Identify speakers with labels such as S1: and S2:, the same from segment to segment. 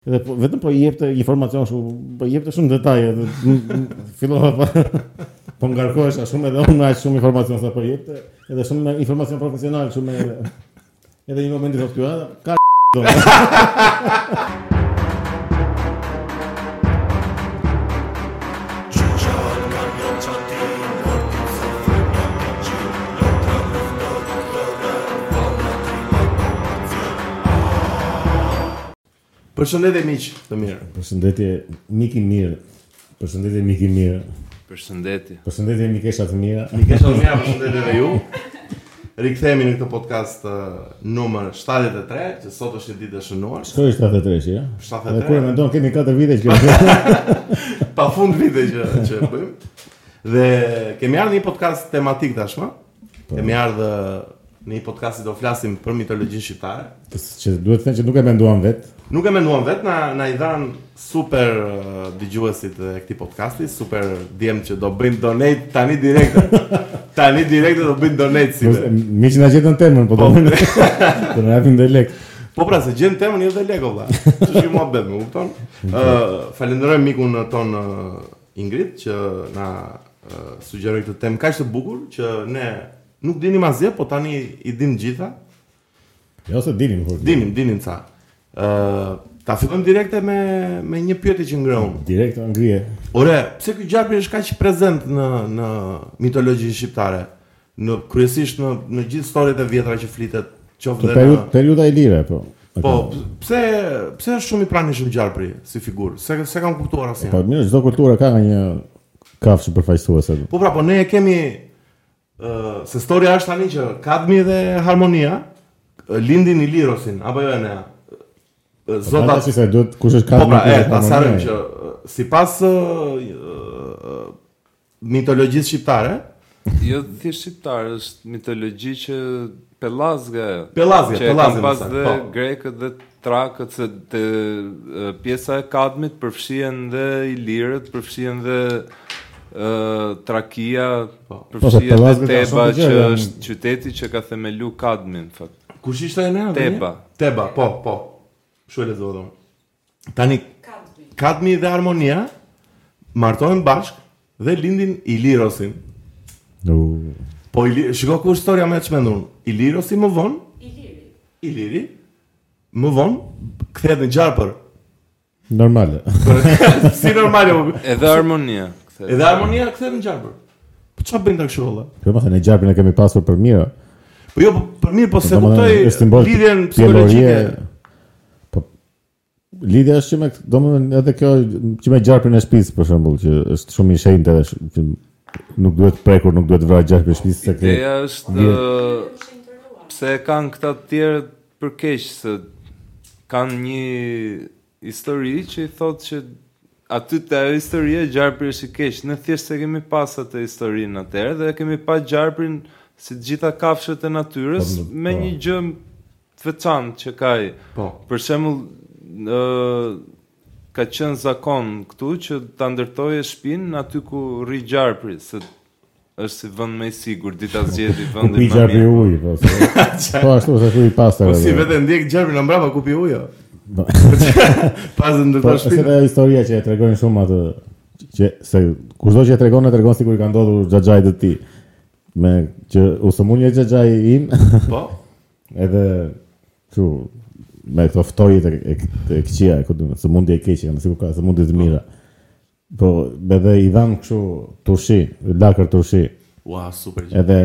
S1: Dhe po, vetëm po i jepte informacion shumë, po i jepte shumë detaje. Dhe, m- m- fillova pa po ngarkohesha shumë edhe unë aq shumë informacion sa po jepte, edhe shumë informacion profesional, shumë edhe edhe një moment i thotë ky, "Ah, ka do."
S2: Përshëndetje miq, të mirë.
S1: Përshëndetje mik i mirë. Përshëndetje mik i mirë.
S2: Përshëndetje.
S1: Përshëndetje mikesha të mira.
S2: Mikesha të mirë, përshëndetje dhe ju. Rikthehemi në këtë podcast uh, numër 73, që sot është një ditë e shënuar.
S1: Shkoj 73-shi, ja?
S2: 73.
S1: Dhe kur e mendon kemi 4 vite që kemi
S2: Pa fund vite që që e bëjmë. Dhe kemi ardhur në një podcast tematik tashmë. Kemi ardhur uh, në një podcast që do flasim për mitologjinë shqiptare.
S1: që duhet të them që nuk e menduam vet.
S2: Nuk e menduam vetë, na, na i dhanë super uh, dëgjuesit e këtij podcasti, super djem që do bëjmë donate tani direkte. tani direkte do bëjmë donate si.
S1: Mos- Miq na gjetën temën, po do. Do na japin dhe lek.
S2: Po pra se gjen temën jo dhe lego vlla. Ç'është kjo muhabet, më kupton? Ë, falenderoj mikun ton ë, Ingrid që na ë, sugjeroi këtë temë kaq të bukur që ne nuk dinim asgjë, po tani i dim gjitha.
S1: Jo se dinim kur.
S2: Dinim, dinim ca. Ë, ta fillojmë direkte me me një pyetje që ngreu.
S1: Direkt ngrije.
S2: Ore, pse ky gjarpi është kaq prezent në në mitologjinë shqiptare? Në kryesisht në në gjithë historitë e vjetra që flitet, qoftë
S1: Të
S2: dhe
S1: periud,
S2: në
S1: periuda e lirë, po.
S2: Po, p- pse pse është shumë i pranishëm Gjarpri si figurë? Se se kam kuptuar
S1: Po
S2: asnjë.
S1: mirë, çdo kulturë ka nga një kafshë përfaqësuese.
S2: Po pra, po ne e kemi ë se historia është tani që Kadmi dhe Harmonia ë, lindin Ilirosin, apo jo ne?
S1: Zota
S2: Zotat
S1: Po, si se duhet kush është
S2: Po
S1: kafshë.
S2: pra,
S1: kush
S2: e,
S1: është
S2: ta
S1: harmonia.
S2: sarëm që ë, sipas ë, ë, mitologjisë shqiptare,
S3: Jo thjesht shqiptar, është mitologji që pelazga. e.
S2: Pelazga,
S3: që e
S2: pelazga,
S3: kanë pas
S2: më saktë,
S3: dhe
S2: po.
S3: grekët dhe trakët se të, e, pjesa e kadmit përfshihen dhe ilirët, përfshihen dhe ë trakia,
S1: Po, se
S3: përfshihen
S1: Pelazgët
S3: dhe
S1: janë
S3: Teba
S1: shumë të
S3: që
S1: gjerë,
S3: është qyteti që ka themelu kadmin në fakt.
S2: kush ishte e ne?
S3: Teba.
S2: Teba, po, po. Kështu e lexova unë. Tani Kadmi dhe Harmonia martohen bashk dhe lindin Ilirosin.
S1: U,
S2: Po Ili, shiko ku është historia më e çmendur. Ilirosi më vonë,
S4: Iliri.
S2: Iliri më vonë kthehet në Gjarpër.
S1: Normale.
S2: si normale. po.
S3: Edhe harmonia. kthehet.
S2: Edhe Harmonia kthehet në Gjarpër. Po çfarë bën ta kështu valla?
S1: Po më thënë gjarpin e kemi pasur për mirë.
S2: Po jo, po, për mirë, po se
S1: domethënë,
S2: kuptoj
S1: është simbol
S2: lidhjen psikologjike.
S1: psikologjike. Po lidhja është që me kët- domethënë edhe kjo që me gjarpin e shtëpisë për shembull që është shumë i shenjtë edhe sh- që nuk duhet prekur, nuk duhet vrarë gjarpin e shtëpisë se ke.
S3: Ideja është ë,
S4: Është integruar.
S3: pse e kanë këta të tjerë për keq se kanë një histori që i thotë që aty te ajo historia gjarpri është i keq. Ne thjesht e kemi pas atë historinë atëherë dhe e kemi pa gjarprin si të gjitha kafshët e natyrës
S1: Po,
S3: me
S1: po.
S3: një gjë të veçantë që ka ai.
S2: Po.
S3: Për shembull, ë ka qenë zakon këtu që ta ndërtoje shtëpinë aty ku rri gjarpri, se është si vend më i sigurt, dita zgjeti
S1: Ku
S3: vendin më
S1: pi
S3: mirë.
S1: gjarpi ujë, po. se- Po ashtu se ku i pastër.
S2: Po si
S1: edhe.
S2: vetë ndjek Gjarprin në mbrapa kupi ujo.
S1: Po.
S2: Pas
S1: Po,
S2: ndërtoj
S1: është
S2: shtëpinë.
S1: edhe ajo historia që e tregojnë shumë atë që se kushdo që e tregon e tregon sikur i ka ndodhur xhaxhait të tij. Me që u sëmundje xhaxhai im
S2: Po.
S1: edhe kështu me këto ftojit e, e, e këqia, ku do të thotë sëmundje e keqe, kanë sikur ka sëmundje të mira. Po edhe i dhan kështu turshi, lakër turshi.
S2: Ua, super gjë.
S1: Edhe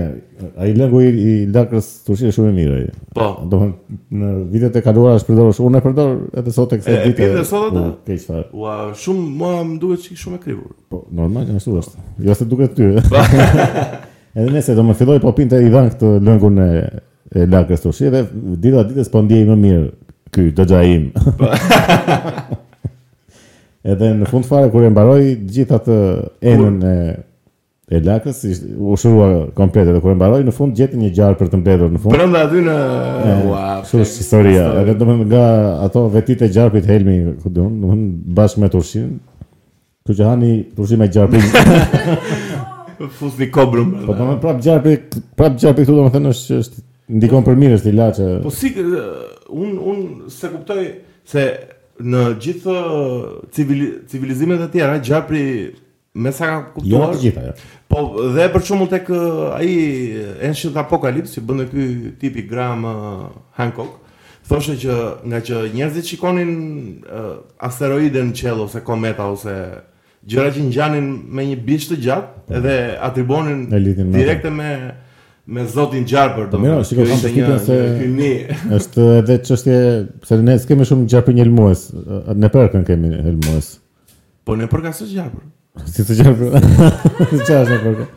S1: ai lëngu i, i lakrës turshi është shumë i mirë. ai.
S2: Po.
S1: Domethënë në vitet e kaluara është përdorur, unë e përdor edhe sot e kësaj
S2: E, e
S1: dite.
S2: pije dhe sot atë?
S1: ku Keq fare.
S2: Ua, shumë mua më duhet çik shumë e krivur.
S1: Po, normal, ashtu është. Jo se duket ty. edhe nëse do më filloj po pinte i dhan këtë lëngun e, e lakrës të ushi dhe dita ditës po ndjej më mirë ky dëgja im. edhe në fund fare kur e mbaroj gjithë atë enën e e lakrës ishte- u shërua komplet edhe kur e mbaroj në fund gjeti një gjarë për të mbledhur në fund.
S2: Brenda aty në ua,
S1: Kështu është historia. Edhe domethënë nga ato vetitë e gjarpit Helmi, ku diun, domethënë bashkë me turshin. Kështu që hani turshi me gjarpin
S2: fus një kobrëm.
S1: Po do më prap gjarpi, prap gjarpi këtu do më thënë është, është ndikon për mirë është ilaçe.
S2: Po si kë- un un se kuptoj se në gjithë civili, civilizimet e tjera Gjapri me sa ka
S1: Jo
S2: kuptuar
S1: të gjitha, jo.
S2: Po dhe për shembull tek ë, ai Ancient Apocalypse si bën ky tipi Graham ë, Hancock thoshte që nga që njerëzit shikonin ë, asteroide në qell ose kometa ose gjëra që ngjanin me një bish të gjatë edhe atribuonin
S1: E lidhin me
S2: direkte me me zotin Gjarpër
S1: Po mirë, shiko, kam përshtypjen se-
S2: ky ni
S1: Është edhe çështje se ne s'kemë shumë gjapin helmues, ë, ne përkën kemi helmues.
S2: po ne përka së Gjarpër.
S1: Si të gjapë. Çfarë është në përkën?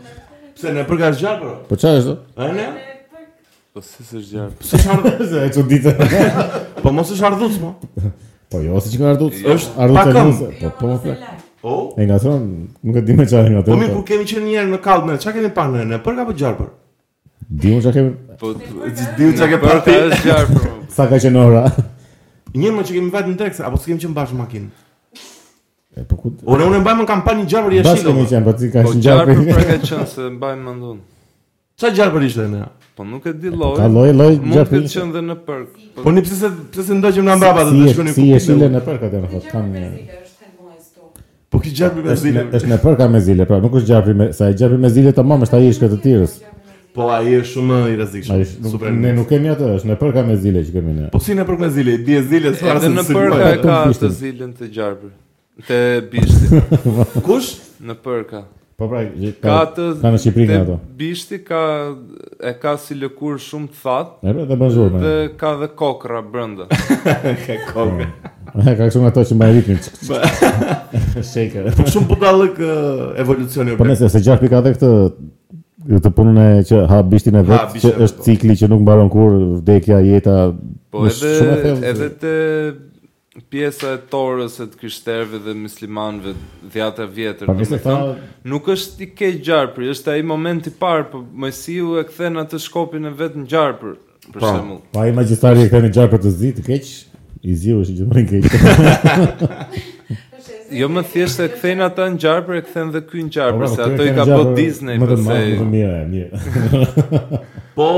S2: Pse ne përka së Gjarpër? o?
S1: Po çfarë është?
S2: A ne?
S3: Po si s'është gjarë?
S2: Pse është ardhur?
S1: Se e çuditë.
S2: Po mos është ardhur, mo.
S1: Po jo, si çka ardhut,
S2: Është
S1: ardhut
S2: pa këmbë.
S1: helmuese. Po po më flet.
S2: Oh.
S1: E nga thonë, nuk e di me çfarë nga
S2: Po mirë,
S1: thonë.
S2: kur kemi qenë një herë në kallë, ne çka kemi parë ne? Për apo Gjarpër?
S1: Di unë çka kemi
S3: Po
S2: Diu çka ke parë ti?
S3: është gjarë për mu.
S1: sa ka qenë ora.
S2: Një më që kemi vetë në Texas apo s'kemi qenë bashkë në makinë.
S1: E po ku?
S2: Ore unë e mbaj më kampanjë Gjarpër
S1: Bashkë
S2: jashtë.
S1: kemi qenë, po ti ka
S3: Po
S1: qenë
S3: gjarë për
S1: gjapin.
S3: ka qenë se mbaj më ndonë.
S2: Çfarë Gjarpër ishte ne?
S3: Po nuk e di lloj.
S1: Ka lloj lloj
S3: Mund
S1: gjapin.
S3: të qenë dhe në park. Po
S2: Po ne pse se pse se ndoqëm na mbrapa
S1: Si
S2: dhe të
S1: e-
S2: shkoni
S1: si e
S2: ku?
S1: shile në përkë atë në fakt kam një-
S2: Po ki Gjarpër me
S1: është
S2: zile.
S1: në, është në përka me zile, pra nuk është gjapi me sa e gjapi me zile tamam është ai ishkë të tirës.
S2: Po ai është shumë i
S1: Ai
S2: rrezikshëm.
S1: është- nuk-
S2: Super.
S1: ne nuk kemi atë, është në përka me zile që kemi ne.
S2: Po si ne për me zile, bie zile s'farë
S3: Edhe
S2: se
S3: në
S2: pra, si
S3: përka
S2: luaj.
S3: e ka
S1: Bishtin.
S3: të zilën të gjarpër. Te bishti,
S2: Kush?
S3: në përka.
S1: Po pra, që ka,
S3: Ka të
S1: ka në Shqipëri
S3: te
S1: nga ato.
S3: Bishti ka e ka si lëkur shumë të thatë
S1: E pra, dhe bën zhurmë.
S3: dhe ka dhe kokra brenda.
S2: Ka kokë.
S1: E ka kështu nga ato që mbajnë ritmin. qik, qik, qik. Shaker.
S2: Po shumë budallëk ë, evolucioni
S1: Po
S2: bre.
S1: nëse se gjapi ka edhe këtë këtë punën e që ha bishtin e vet,
S2: Ha, bishtin
S1: që
S2: e vet,
S1: është
S2: po.
S1: cikli që nuk mbaron kur, vdekja, jeta,
S3: Po
S1: është
S3: edhe
S1: shumë e thellë.
S3: edhe te pjesa e torës e të krishterëve dhe muslimanëve dhjata vjetër.
S1: Pa vese
S3: domethënë,
S1: tha,
S3: Nuk është i keq gjarpër, është ai moment i parë, po mësiu e kthen atë shkopin e vet në gjarpër, për
S2: Po.
S3: shembull.
S1: pa i magjistari e këtani gjarpë të zi, të keq, i ziu është gjithmonë i keq.
S3: Jo më thjesht e kthejnë ata në gjarpër, e kthen dhe ky në
S1: Po,
S3: gjarpër,
S1: po,
S3: se
S1: këtyre
S3: ato i
S1: kanë
S3: ka
S1: gjarpë
S3: bë Disney,
S1: më të
S3: përse
S1: madhe, më të mirë, mirë.
S2: Po,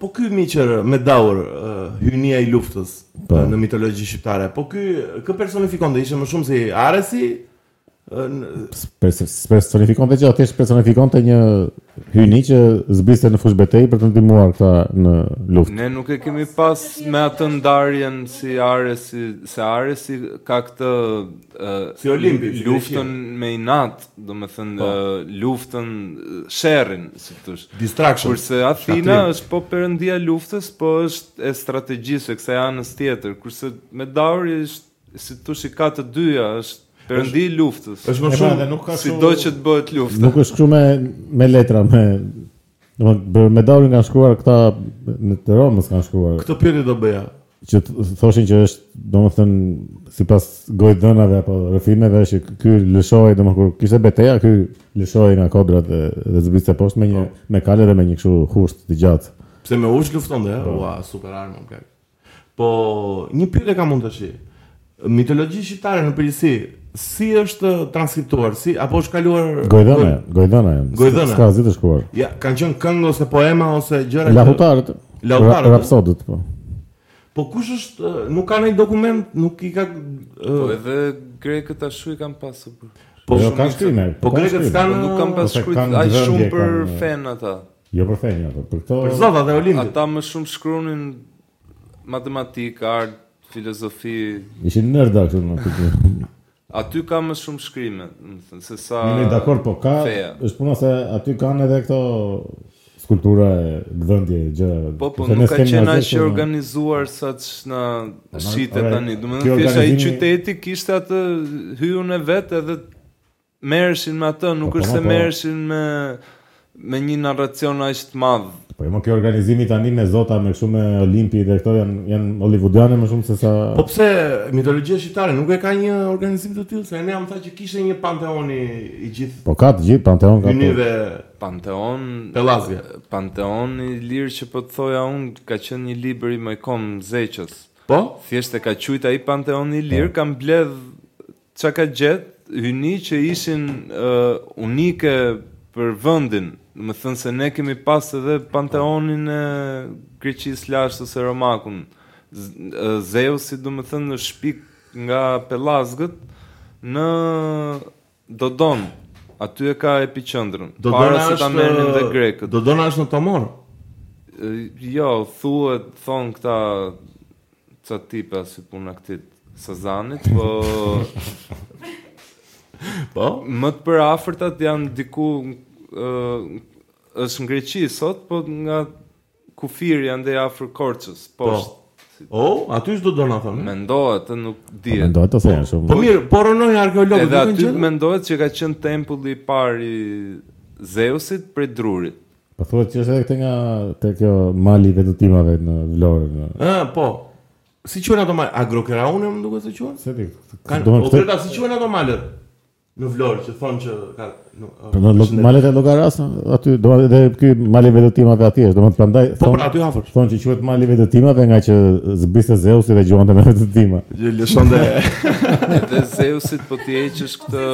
S2: po ky miqër me daur, uh, hynia i luftës
S1: Po.
S2: në mitologji shqiptare. Po ky kë personifikonte ishte më shumë si Aresi? ë, n-
S1: Pers- personifikon të që atësh personifikon të një hyni që zbriste në fushë betej për të ndihmuar këta në luftë.
S3: Ne nuk e kemi pas me atë ndarjen si Aresi, se Aresi ka këtë uh,
S2: Si Olimpi, si
S3: luftën me inat, domethënë
S2: Po.
S3: uh, luftën eh, sherrin, si thosh.
S2: Distraction.
S3: Kurse Athina është po perëndia e luftës, po është e strategjisë e kësaj anës tjetër. Kurse Medauri është si thosh i ka të dyja, është perëndi i luftës.
S2: Është më
S1: E pra,
S2: shumë
S1: dhe nuk ka
S3: Sido që të bëhet lufta.
S1: Nuk është kështu me me letra me domethënë për me daurin kanë shkruar këta në të Romës kanë shkruar
S2: këtë pyetje do bëja.
S1: që th- thoshin që është domethënë sipas gojë dhënave apo rrëfimeve që ky lëshoi domethënë kur kishte betejë ky lëshoi nga kodrat dhe, dhe zbriste poshtë me një me kale dhe me një kështu husht të gjatë.
S2: Pse me uç luftonte,
S1: Po.
S2: ja? ua, super armë më kaq. Po, një pyetje kam unë tash. Mitologji shqiptare në përgjithësi, si është transkriptuar, si apo është kaluar
S1: Gojdhëna, gojdhëna janë.
S2: Gojdhëna.
S1: S'ka asgjë të shkruar.
S2: Ja, kanë qenë këngë ose poema ose gjëra që-
S1: Lahutarët.
S2: Lahutarët,
S1: ra-
S2: ëh?
S1: Rapsodët, po.
S2: Po kush është, ë, nuk ka ndonjë dokument, nuk i ka eh,
S3: Po
S2: ë,
S3: edhe grekët ashtu i kanë pasur. bro.
S2: Po
S1: Jo,
S2: shumë
S1: kanë
S2: mirë,
S1: shkrimë,
S2: se- Po
S1: kanë
S2: grekët
S1: shkrimë.
S2: kanë
S3: Po nuk kanë pas
S1: Ose
S3: shkruajt
S1: kanë
S3: aq
S1: vëndje,
S3: shumë për
S1: kanë-
S3: fen ata.
S1: Jo për fen, jo, po për këto.
S2: për zotat e Olimpit.
S3: Ata më shumë shkruanin matematikë, art, filozofi.
S1: Ishin nërda këtu në këtë.
S3: Aty ka më shumë shkrime, më thënë, se sa...
S1: Jemi dakord, po ka
S3: feja.
S1: është puna se aty kanë edhe këto skulptura e gdhëndje gjëra.
S3: Po, po,
S1: Se ne
S3: nuk ka
S1: s'kemi
S3: qenë
S1: asgjë
S3: aq i
S1: shumë.
S3: organizuar sa që në shite
S1: ore,
S3: tani. Do më
S1: ky
S3: thënë, thjesht ai
S1: organizimi-
S3: qyteti kishte atë hyun e vetë edhe merreshin me atë, nuk
S1: Po, po,
S3: është se
S1: po.
S3: merreshin me me një narracion aq të madh.
S1: Po jo, kjo organizimi tani me zota me kështu me Olimpi dhe këto janë janë hollywoodiane më shumë se sa
S2: Po pse mitologjia shqiptare nuk e ka një organizim të tillë? Se ne jam tha që kishte një panteon i, i gjithë
S1: Po ka të gjithë Panteon ka. po.
S2: hynive
S3: Panteon
S2: Pelazgje.
S3: Panteon i lirë që po të thoja unë ka qenë një libër i Majkom Zeqës.
S2: Po?
S3: Thjesht e ka qujt ai Panteon i Lir, ka mbledh çka ka gjet, hyni që ishin uh, unike për vendin. Do të thënë se ne kemi pas edhe Panteonin e Greqisë lashtë ose Romakun. Z- ë, Zeusi do të thënë në shpik nga Pelazgët në Dodon. Aty e ka epiqendrën. Para se ta merrnin dhe grekët.
S2: Dodona është në Tomor.
S3: E, Jo, thuhet thon këta ca tipa si puna këtit Sazanit, po
S2: Po.
S3: më të përafërtat janë diku ë është në Greqi sot, po nga kufiri janë dhe afër Korçës,
S2: Po.
S3: poshtë.
S2: O, aty është Dodona thonë.
S3: Mendohet, ë, nuk dihet.
S1: Mendoj të thënë shumë.
S2: Po mirë, po rënojnë arkeologët
S3: Edhe
S2: nuk e
S3: aty
S2: gjenë.
S3: mendohet që ka qenë tempulli i parë i Zeusit prej drurit.
S1: Po thuhet që është edhe këtë nga te kjo mali i vetutimave në Vlorë. Në...
S2: Ë, po. Si quhen ato malet? Agrokeraune më duket se quhen?
S1: Se ti.
S2: Kanë,
S1: Domun
S2: o
S1: këtë
S2: Greta, si quhen ato malet? Në Vlorë që thonë që ka në,
S1: Po në lo- malet e llogaras aty do edhe ky mali i vetutimave aty është, domethënë prandaj
S2: Po
S1: thon
S2: për aty afër.
S1: thon që quhet mali i vetutimave nga që zbriste Zeusi dhe gjuante me vetutima.
S2: Gjë lëshonde.
S3: Edhe Zeusit po ti heqësh këtë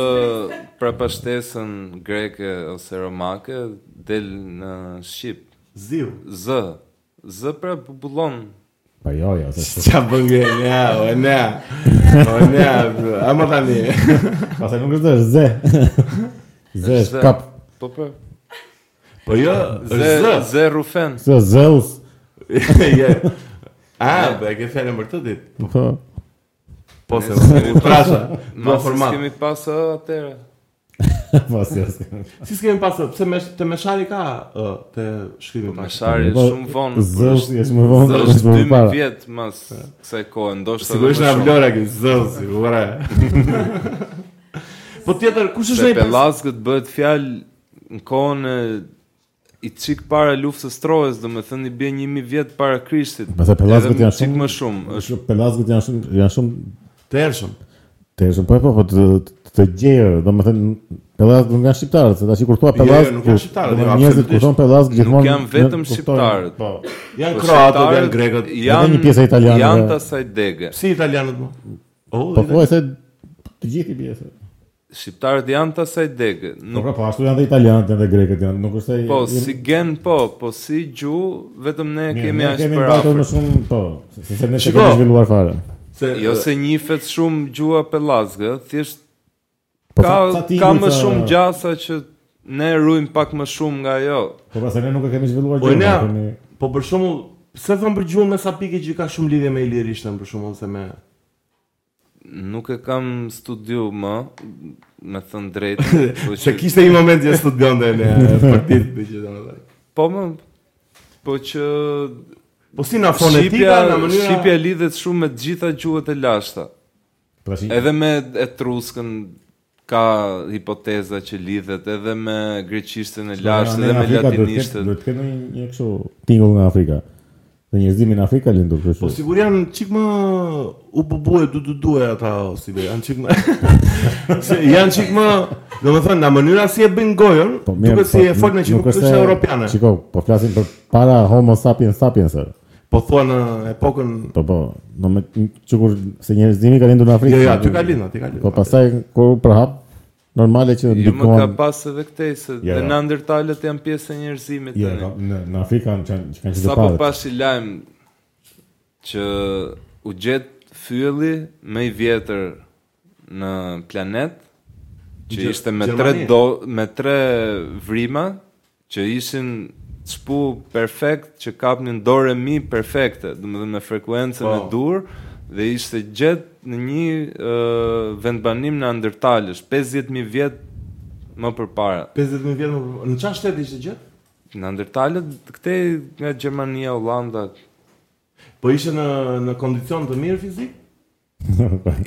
S3: prapashtesën greke ose romake del në shqip.
S2: Ziu.
S3: Z. Z pra bullon.
S1: Po jo, jo, se
S2: Qa bën gre, nea, o nea. O nea, bro. ama tani.
S1: pastaj nuk është është ze. Ze
S3: Është
S1: është
S3: ze.
S1: kap.
S3: Po po.
S2: Po jo,
S3: Z
S2: zë.
S3: Z rufen.
S1: Se Zeus.
S2: Je. A, po e ke fjalën për këtë ditë.
S1: Po.
S2: Po se u trasha. Në
S3: Mos
S2: format.
S3: kemi pas ë atëre.
S1: Po si është.
S2: Si s'kemi pasur, pse me te meshari ka ë, te shkrimi pas.
S3: Mashari
S1: Po,
S3: shumë vonë.
S1: Zeusi është më vonë,
S3: Zeusi
S1: është më
S3: është 2000
S1: para.
S3: vjet mas kësaj kohe, ndoshta
S2: Sigurisht
S3: edhe
S2: na
S3: më shumë.
S2: vlora që zëll sigura. Po tjetër kush është
S3: Se
S2: ai pes-
S3: Pelazgët bëhet fjalë në kohën e i çik para luftës Trojes, domethënë i bën 1000 vjet para Krishtit.
S1: Pastaj Pelazgët
S3: Edhe
S1: janë
S3: çik
S1: shumë-
S3: më shumë, është
S1: Është pelazgët janë shumë janë shumë
S2: të ershëm?
S1: Të është po po po të të gjerë, domethënë Pellas nuk janë shqiptarët, se tash kur thua Pellas,
S2: jo, nuk janë shqiptarë, jo,
S1: njerëzit kur
S2: absolutisht.
S1: thon Pellas gjithmonë
S3: janë vetëm
S1: kuptojnë,
S3: shqiptarët.
S1: Po.
S2: Janë
S3: Po,
S2: kroatët,
S3: shqiptarët
S2: janë grekët.
S3: janë
S1: Edhe një pjesë e italianëve.
S3: Janë të asaj dege.
S2: Si italianët më? Oh,
S1: Po po se të gjithë i pjesë.
S3: Shqiptarët janë të asaj dege.
S1: Po
S3: Nuk,
S1: pra, po ashtu janë dhe italianët dhe grekët janë, nuk është se
S3: po,
S1: jemi-
S3: si gen po, po si gju, vetëm ne
S1: Mirë,
S3: kemi
S1: ne
S3: ashtë
S1: kemi
S3: për
S1: mbajtur më
S3: afër.
S1: shumë, po, se- se ne
S2: Shiko.
S1: kemi zhvilluar fare.
S2: se
S3: Jo se njifet shumë gjua pelazgë, thjesht
S1: Po,
S3: ka,
S1: sa- sa ti
S3: ka
S1: ngritë,
S3: më shumë
S1: ë,
S3: gjasa që ne rujmë pak më shumë nga jo.
S1: Po pra se ne nuk e kemi zhvilluar
S2: Po
S1: gjë.
S2: ne,
S1: ne kemi
S2: po për shembull, pse thon për gjuhën me sa pikë që ka shumë lidhje me ilirishtën për shembull se me
S3: Nuk e kam studiu më, me thënë drejtë. po
S2: se
S3: që-
S2: kishte një moment që studionte në për ditë me që domethënë.
S3: Po më, po që
S2: Po si na
S3: Shqipja,
S2: fonetika në mënyrë
S3: Shqipja lidhet shumë me të gjitha gjuhët e lashta.
S1: pra si
S3: Edhe me etruskën ka hipoteza që lidhet, edhe me greqishtën e lashtë,
S1: Po, Ne
S3: edhe
S1: në
S3: me
S1: Afrika duhet të ketë-
S3: latinishtën.
S1: Duhet të ketë një një kështu tingull nga Afrika. Dhe njerëzimi në Afrika lindur
S2: Po
S1: kështu.
S2: sigur janë çik më u bubue du du duhe ata o, si be, janë çik më se janë çik më domethënë në mënyra si e bëjnë gojën,
S1: Po mirë.
S2: duket si e folën që nuk është europiane.
S1: Shiko, po flasim për para Homo sapiens sapiens. e.
S2: Po thua në epokën
S1: Po po, do me që kur se njerëzimi ka lindur në Afrikë.
S2: Jo, jo, aty ka lindur, aty ka lindur.
S1: Po pastaj kur u përhap, normale që
S3: Ju Jo, më ka
S1: ndikon.
S3: pas edhe këtej se
S1: Jo,
S3: dhe
S1: jo.
S3: në ndërtalet janë pjesë e njerëzimit
S1: Jo,
S3: tani.
S1: ka- në në Afrikë kanë kanë që kanë
S3: Sa po
S1: qytetarët.
S3: pash i lajm që u gjet fylli më i vjetër në planet që
S2: Gjer-
S3: ishte me tre
S2: Gjermani.
S3: do me tre vrima që ishin çpu perfekt që kapnin dorë mi perfekte, domethënë me frekuencën e
S2: Po.
S3: dur dhe ishte gjet në një uh, vendbanim në Andërtalësh 50000 vjet më përpara.
S2: 50.000 vjet më në çfarë shteti ishte gjatë?
S3: Në Andërtalët këtej nga Gjermania, Holanda,
S2: Po ishte në në kondicion të mirë fizik?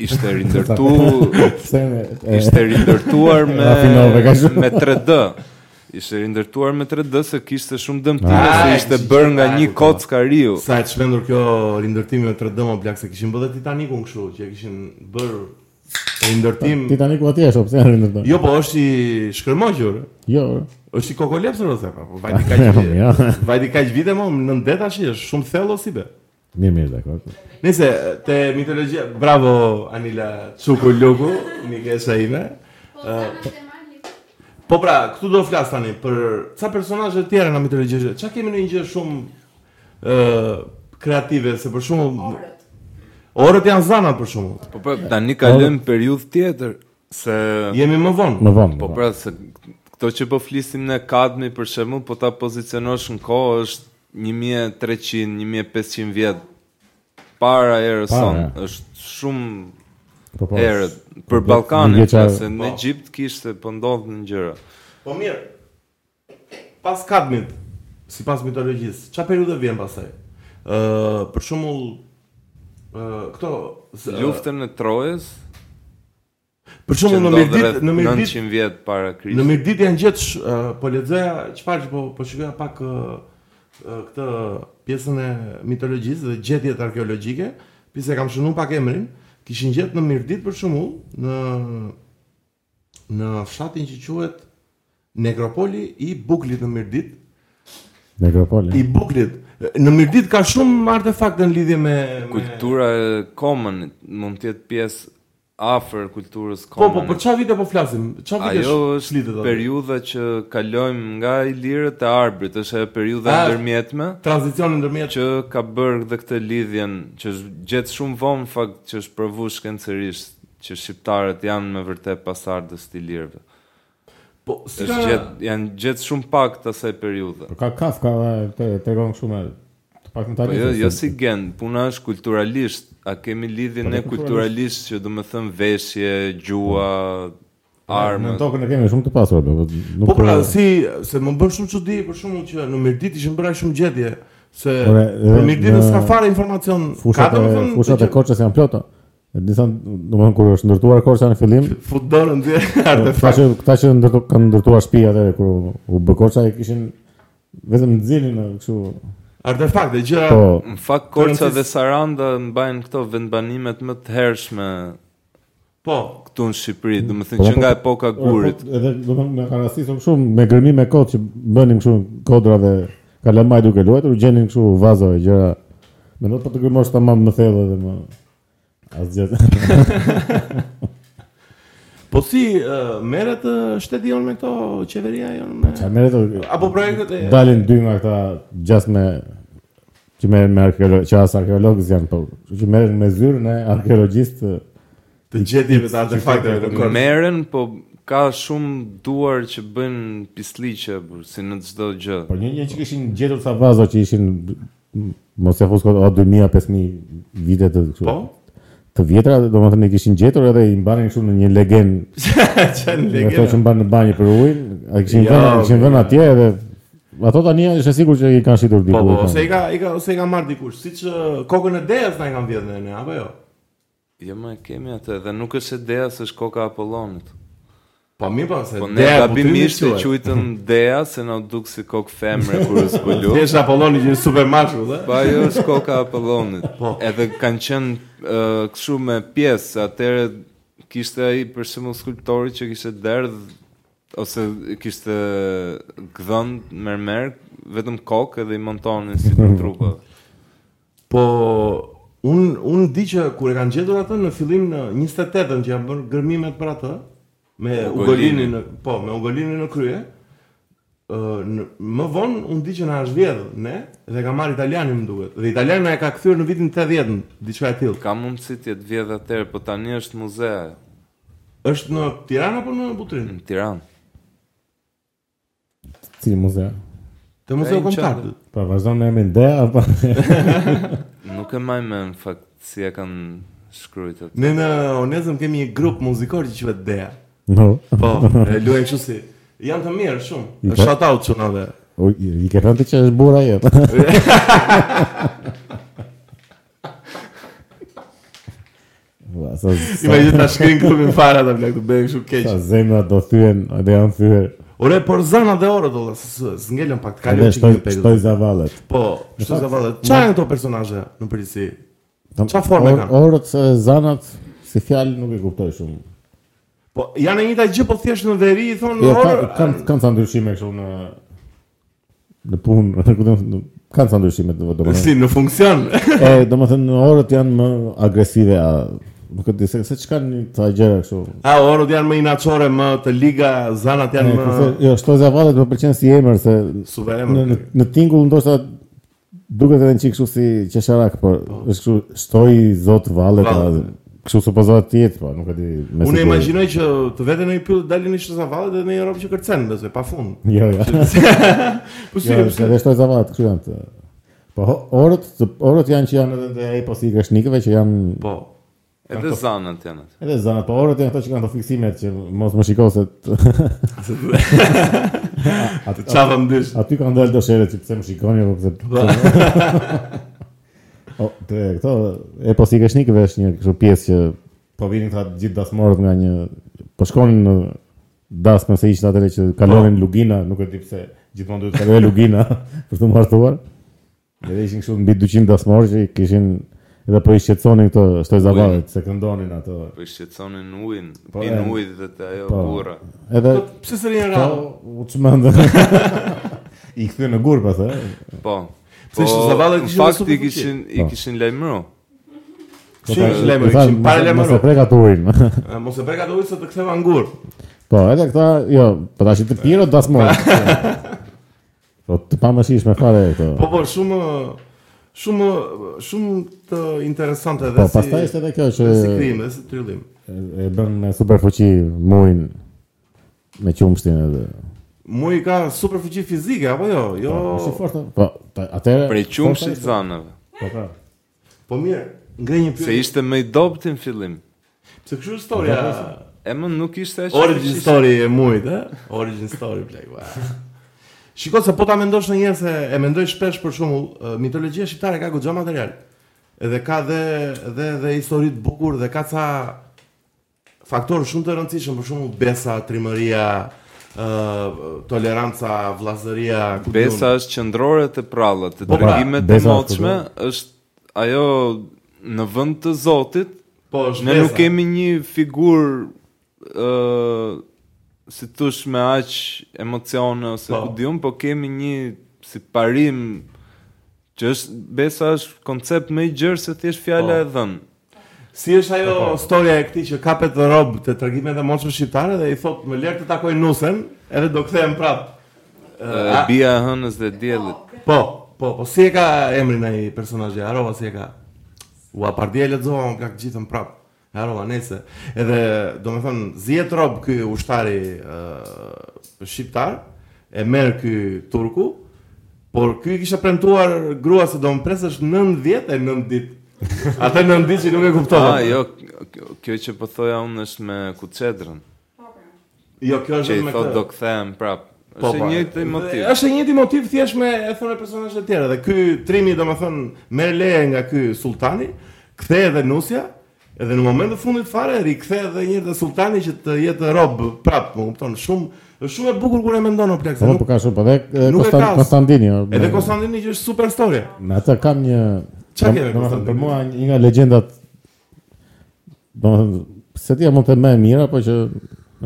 S3: ishte rindërtu
S1: Pse me e,
S3: ishte rindërtuar me
S1: Rafinove, ka shumë.
S3: me 3D. Ishte rindërtuar me 3D se kishte shumë dëmtime
S2: Ah,
S3: se ishte
S2: e,
S3: bërë nga
S2: ah,
S1: po,
S3: një
S2: kuptova.
S3: kocka riu.
S2: Sa e çmendur kjo rindërtimi me 3D më plak se kishin bërë dhe Titanicun kështu, që e kishin bërë rindërtim.
S1: Titaniku atje është, pse janë ndërtuar?
S2: Jo, po është i shkërmoqur.
S1: Jo.
S2: Është i kokolepsur ose po, po vajti
S1: Jo,
S2: kaq vite.
S1: jo.
S2: Vajti kaq vite më, në det tash është shumë thello si be.
S1: Mirë, mirë, dakor.
S2: Nëse te mitologjia, bravo Anila Çuku Luku, mikesa ime.
S4: Po, sa më të mali.
S2: Po pra, këtu do flas tani për ca personazhe të tjera nga mitologji. Çka kemi në një gjë shumë ë kreative se për shumë
S4: Orët.
S2: Orët janë zanat për shkakun.
S3: Po pra, tani kalojmë periudhë tjetër se
S2: Jemi më vonë.
S1: Më vonë.
S3: po
S1: më
S3: pra se këto që po flisim në Kadmi për shembull, po ta pozicionosh në kohë është 1300, 1500 vjet para erës
S1: Para.
S3: sonë. Është shumë
S1: vonë. Po, po,
S3: erët për Ballkanin,
S1: Një
S3: pra,
S1: vjeqa-
S3: se në
S2: Po.
S3: Egjipt kishte po ndodhin gjëra.
S2: Po mirë. Pas kadmit, sipas mitologjisë, ç'a periudhë vjen pastaj? Ë, për shembull ë këto z-
S3: Luftën e Trojës
S2: Për
S3: që
S2: shembull Po, në
S3: ndodh
S2: Mirdit,
S3: rreth
S2: në Mirdit
S3: 900 vjet para
S2: Në
S3: Krishtit.
S2: Mirdit janë gjithë, sh- ë, po lexoja çfarë që po po shikoja pak ë, ë, këtë pjesën e mitologjisë dhe gjetjet arkeologjike, pse e kam shënuar pak emrin, kishin gjetë në Mirdit për shembull në në fshatin që quhet Nekropoli i Buklit në Mirdit,
S1: Nekropoli.
S2: i Buklit. Në Mirdit ka shumë artefakte në lidhje me me-
S3: Kultura e Komën mund të jetë pjesë afër kulturës
S2: Po,
S3: Komën.
S2: po, për çfarë vite po flasim? Çfarë vite
S3: Ajo
S2: sh-
S3: është
S2: flitet atë?
S3: periudha që kalojmë nga Ilirët e Arbrit, është e periudha
S2: Ah.
S3: ndërmjetme
S2: tranzicioni ndërmjet
S3: që ka bërë dhe këtë lidhjen që është gjetë shumë vonë në fakt që është provu shkencerisht që shqiptarët janë me vërtet pasardës të ilirëve.
S2: po si
S3: Është
S2: ka-
S3: gjetë janë gjetë shumë pak të asaj periudhe.
S1: Ka Kafka dhe te tregon shumë të pak në
S3: Po jo,
S1: tani.
S3: jo si gen, puna është kulturalisht, a kemi lidhjen
S1: Po,
S3: ne
S1: po,
S3: kulturalisht që do të thënë veshje,
S1: Po. Në
S3: gjua, armë.
S1: tokën e kemi shumë të pasur, do. Nuk
S2: Po pra, si se më bën shumë çudi për shkakun që në Mirdit ishin bërë aq shumë gjetje se
S1: Ore,
S2: në
S1: dhe
S2: Mirdit
S1: në
S2: s'ka fare informacion.
S1: fushat
S2: Ka,
S1: e
S2: domethënë,
S1: fushat e
S2: që-
S1: Korçës janë plota. E Disa, domethënë kur është ndërtuar Korça në fillim,
S2: fut dorën dhe
S1: këta
S2: artefakt.
S1: që këta që ndërtu, kanë ndërtuar shtëpi atë kur u- u bë Korça e kishin vetëm nxjelin e kështu.
S2: Artefakte gjëra.
S1: Po,
S3: Në fakt Korça
S2: Francis-
S3: dhe Saranda mbajnë këto vendbanimet më të hershme
S2: Po.
S3: këtu në Shqipëri, do të
S1: Po,
S3: thënë që
S1: po,
S3: nga epoka e gurit.
S1: Po, Edhe domethënë na kanë rastisur shumë me gërmim me kot që bënim kështu kodra dhe kalamaj duke luajtur, u gjenin kështu vazo e gjëra. Mendoj po të gërmosh tamam më thellë edhe më asgjë.
S2: Po si ë, merret ë, shteti jon me këto qeveria jon me
S1: Çfarë merret?
S2: apo projektet e
S1: dalin dy nga këta gjas me që merren me arkeolog, që as arkeologës janë, po kështu që merren me zyrën e arkeologjistë.
S2: të gjetjeve të artefakteve të Korçës.
S3: Merren, po ka shumë duar që bëjnë pisliqe, bur, si në çdo gjë.
S1: Po një një që kishin gjetur sa vazo që ishin mos e fuskot o 2000 5000 vite të kështu.
S2: Po.
S1: të vjetra, domethënë i kishin gjetur edhe i mbanin kështu në një legendë,
S2: Çan
S1: me ato që
S2: legenda.
S1: mban në banjë për ujin, ai kishin
S2: Jo,
S1: vënë, i kishin vënë
S2: okay.
S1: atje edhe ato tani është e sigurt që i kanë shitur diku.
S2: Po,
S1: e
S2: po,
S1: kanë.
S2: ose i ka, i ka, ose i ka marrë dikush, siç ë, kokën e dejas na i kanë vjedhën ne, apo jo?
S3: Jo më e kemi atë dhe nuk është ideja se është koka e Apollonit.
S2: Po mirë po, se
S3: Po ne
S2: Dea
S3: gabimisht e
S2: butimi quhet.
S3: quajtëm Dea se na u duk si kokë femre kur po u zbulu.
S2: Deja Apolloni që është super mashkull, ë?
S3: Po ajo është koka e Apollonit.
S2: Po.
S3: Edhe kanë qenë uh, kështu me pjesë, se atëherë kishte ai për shembull skulptori që kishte derdh ose kishte gdhënd mermer vetëm kokë edhe i montonin si në trupa.
S2: Po un un di që kur e kanë gjetur atë në fillim në 28-ën që janë bërë gërmimet për atë me
S3: Ugolinin.
S2: Ugolinin në po, me Ugolinin në krye. ë në- më vonë un di që na është vjedhë ne dhe ka marr italianin më duket. Dhe italiani na e ka kthyer në vitin 80-ën, diçka e tillë.
S3: Ka mundësi të jetë vjedh atëherë, po tani është muze
S2: Është në Tiranë apo në Butrinë?
S3: në Tiranë.
S1: si muzea.
S2: Te Muzeu
S3: Ai në
S2: Kombëtar.
S3: qartë.
S1: Po vazhdon me emrin Dea apo
S3: Nuk e maj me në fakt si e kanë shkruajt atë.
S2: Ne në Onezëm kemi një grup muzikor që quhet Dea.
S1: no.
S2: Po, e luajnë kështu si janë të mirë shumë.
S1: Ika.
S2: Shout out çunave.
S1: O, i, i ke thënë ti që është burra jetë. Ua, sa,
S2: Imagjino ta shkrin grupin fare ata bla këtu bëjnë kështu keq.
S1: sa zemra do thyen, edhe janë thyer.
S2: Ore, por zana dhe orë dolla, s'ngelën pak të
S1: Edhe
S2: kalojmë çik
S1: shtoj
S2: në pegë.
S1: shtoj zavallet.
S2: Po, kështu se vallë. Çfarë janë këto personazhe në përgjithësi?
S1: Tam-
S2: Qa forme
S1: or-
S2: kanë?
S1: Orët, e, zanat, si fjalë nuk e kuptoj shumë.
S2: Po, janë e njëjta gjë po thjesht në veri i thonë
S1: Jo,
S2: në
S1: kanë
S2: orë.
S1: kanë kanë sa ndryshime kështu në në punë, në kuptim, në- kanë sa ndryshime do do.
S2: Si në funksion.
S1: E, domethënë orët janë më agresive, a, nuk e di se se çka kanë ta gjëra kështu.
S2: A orët janë më inaçore, më të liga, zanat
S1: E,
S2: janë
S1: kurse,
S2: më
S1: Jo, shto zavallet më pëlqen si emër se
S2: suverene.
S1: në në- në tingull ndoshta duket edhe një çik kështu si qesharak, por është kështu shtoi zot vallet,
S2: Valle.
S1: a- kështu supozohet të jetë, po nuk e di. me
S2: Unë
S1: siguri.
S2: imagjinoj që të vete në një pyll dalin një shëzavalë dhe në një robë që kërcen, besoj, pa fund.
S1: Jo, jo.
S2: Po si,
S1: Jo, se dhe shtoj zavat, kështu janë të... Po ho- orët, të, orët janë që janë edhe të e po posi kreshnikëve që janë...
S2: po.
S3: Edhe zanët janë atë.
S1: Edhe zanat, po orët janë ato që kanë të fiksimet që mos më shiko se të,
S2: Të çava ndysh.
S1: aty kanë dalë do shere që pse më shikoni apo pse... o, të, këto e posi kreshnikëve është një kështu pjesë që po vinin këta gjithë dasmorët nga një... Po shkonin në dasme se ishte atëre që kalonin Lugina, nuk e di pse gjithmonë duhet të kalojë Lugina për të martuar. Edhe ishin kështu mbi 200 dasmorë që i kishin edhe po i shqetësonin këto shtoj zavallet, se këndonin ato.
S3: Po i shqetësonin ujin,
S1: Po,
S3: pin
S1: e.
S3: ujë dhe të ajo
S1: Po.
S3: burra.
S1: Edhe
S2: Pse s'rin e
S1: po
S2: rau?
S1: u çmendën. I kthyen në gur pastaj.
S3: Po.
S2: Pse shqetësovallet
S3: në
S2: kishin dhe
S3: fakt
S2: superfuqi.
S3: i kishin i
S1: Po.
S3: kishin lajmëruar.
S2: Kishin lajmëruar, kishin para
S1: Mos e
S2: lajmëruar.
S1: preka turin.
S2: E, Mos e breka dojtë se të ktheva ngur.
S1: Po, edhe këta, jo, po tash të pirë dasmorë. Po të pamëshishme fare
S2: Po
S1: këto.
S2: po shumë shumë shumë të interesante
S1: Po,
S2: dhe si
S1: pastaj është edhe kjo që
S2: si krim dhe si tryllim.
S1: e- e bën me super fuqi muin me qumshtin edhe.
S2: Muji ka super fuqi fizike apo jo? Jo.
S1: Është i fortë. Po, ta- atëherë
S3: Prej qumshit zanëve.
S1: Po, po.
S2: Po mirë, ngrej një
S3: Se
S2: pyetje.
S3: ishte më i dobët në fillim.
S2: Se kështu
S1: Po,
S2: historia.
S3: E më nuk ishte aq.
S2: Origin
S3: fuqishme.
S2: story e mujt, e? Origin story, plek, ua. Shiko se po ta mendosh në njerë se e mendoj shpesh për shumë, mitologjia shqiptare ka goxha material. Edhe ka dhe, dhe, dhe histori të bukur dhe ka ca faktorë shumë të rëndësishëm, për shumë besa, trimëria, ë, toleranca, vllazëria, ku diun.
S3: Besa është qendrore te prallat, te
S2: Po, pra,
S3: tregimet e
S1: besa
S3: motshme është ajo në vend të Zotit.
S2: po, është
S3: Ne
S2: besa.
S3: nuk kemi një figurë ë si tush me aq emocione ose
S2: Po.
S3: ku diun, po kemi një si parim që është besa është koncept më i gjerë se thjesht fjala
S2: Po.
S3: e dhënë.
S2: Si është ajo historia e këtij që kapet në rob të tregimet e motshme shqiptare dhe i thot më lër të takoj nusen, edhe do kthehem prapë. Ë,
S3: E,
S2: a-
S3: Bia e hënës dhe diellit.
S2: Po, po, po, si e ka emrin ai personazhi? Harova si e ka. Ua, pardia e lexova unë plak gjithën prap. E Harova nese. Edhe domethënë zihet rob ky ushtari ë shqiptar, e merr ky turku, por ky i kishte premtuar grua se do më presësh 9 vjet e 9 ditë. Atë 9 ditë që nuk e kuptova.
S3: Ah, jo, kjo- kjo që po thoja unë është me kuçedrën.
S2: Jo, kjo
S3: Që
S2: është
S3: i
S2: vetëm me
S3: thot
S2: këtë.
S3: do kthehem prap.
S2: Po,
S3: Është
S2: po,
S3: i njëjti motiv.
S2: Dhe Është i njëjti motiv thjesht me e thonë personazhe të tjerë dhe ky trimi domethënë merr leje nga ky sultani, kthehet edhe nusja, edhe në momentin e fundit fare rikthehet edhe një herë te sultani që të jetë rob prap, më kupton, shumë është shumë e bukur kur e mendon o plak. se
S1: Po,
S2: nuk-
S1: po ka shumë, po dhe e,
S2: Nuk e
S1: Kostan-
S2: ka-
S1: Konstantini. o,
S2: Edhe
S1: me-
S2: Konstantini që është super historia.
S1: Me atë kam një...
S2: Qa
S1: dom- domethënë,
S2: kemi, Konstantin?
S1: Për mua një nga legendat... Do më thënë, se ti mund të më e mira, po që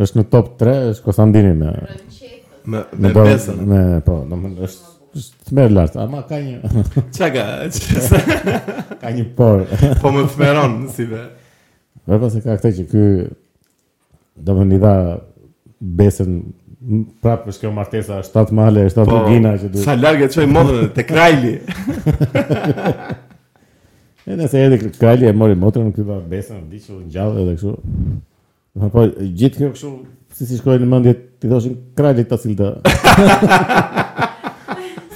S1: është në top 3, është Konstantini me...
S2: Me me
S1: bor-
S2: besën.
S1: Me, po, do më thënë, është është të merë lartë, ama ka një,
S2: Çka ka?
S1: ka një porë.
S2: Po më thmeron si be.
S1: Dhe pas e ka këtë që ky do më një dha besën, m- prapë është kjo martesa, 7 male, 7
S2: Po,
S1: lugina që duhet.
S2: sa larg e çoj modën te Krajli.
S1: E nëse edhe Kali e mori motrën, ky dha besën, di që u ngjallë edhe kështu. Ma po gjithë kjo kështu si si shkoi në mendje ti thoshin Krali ta silta.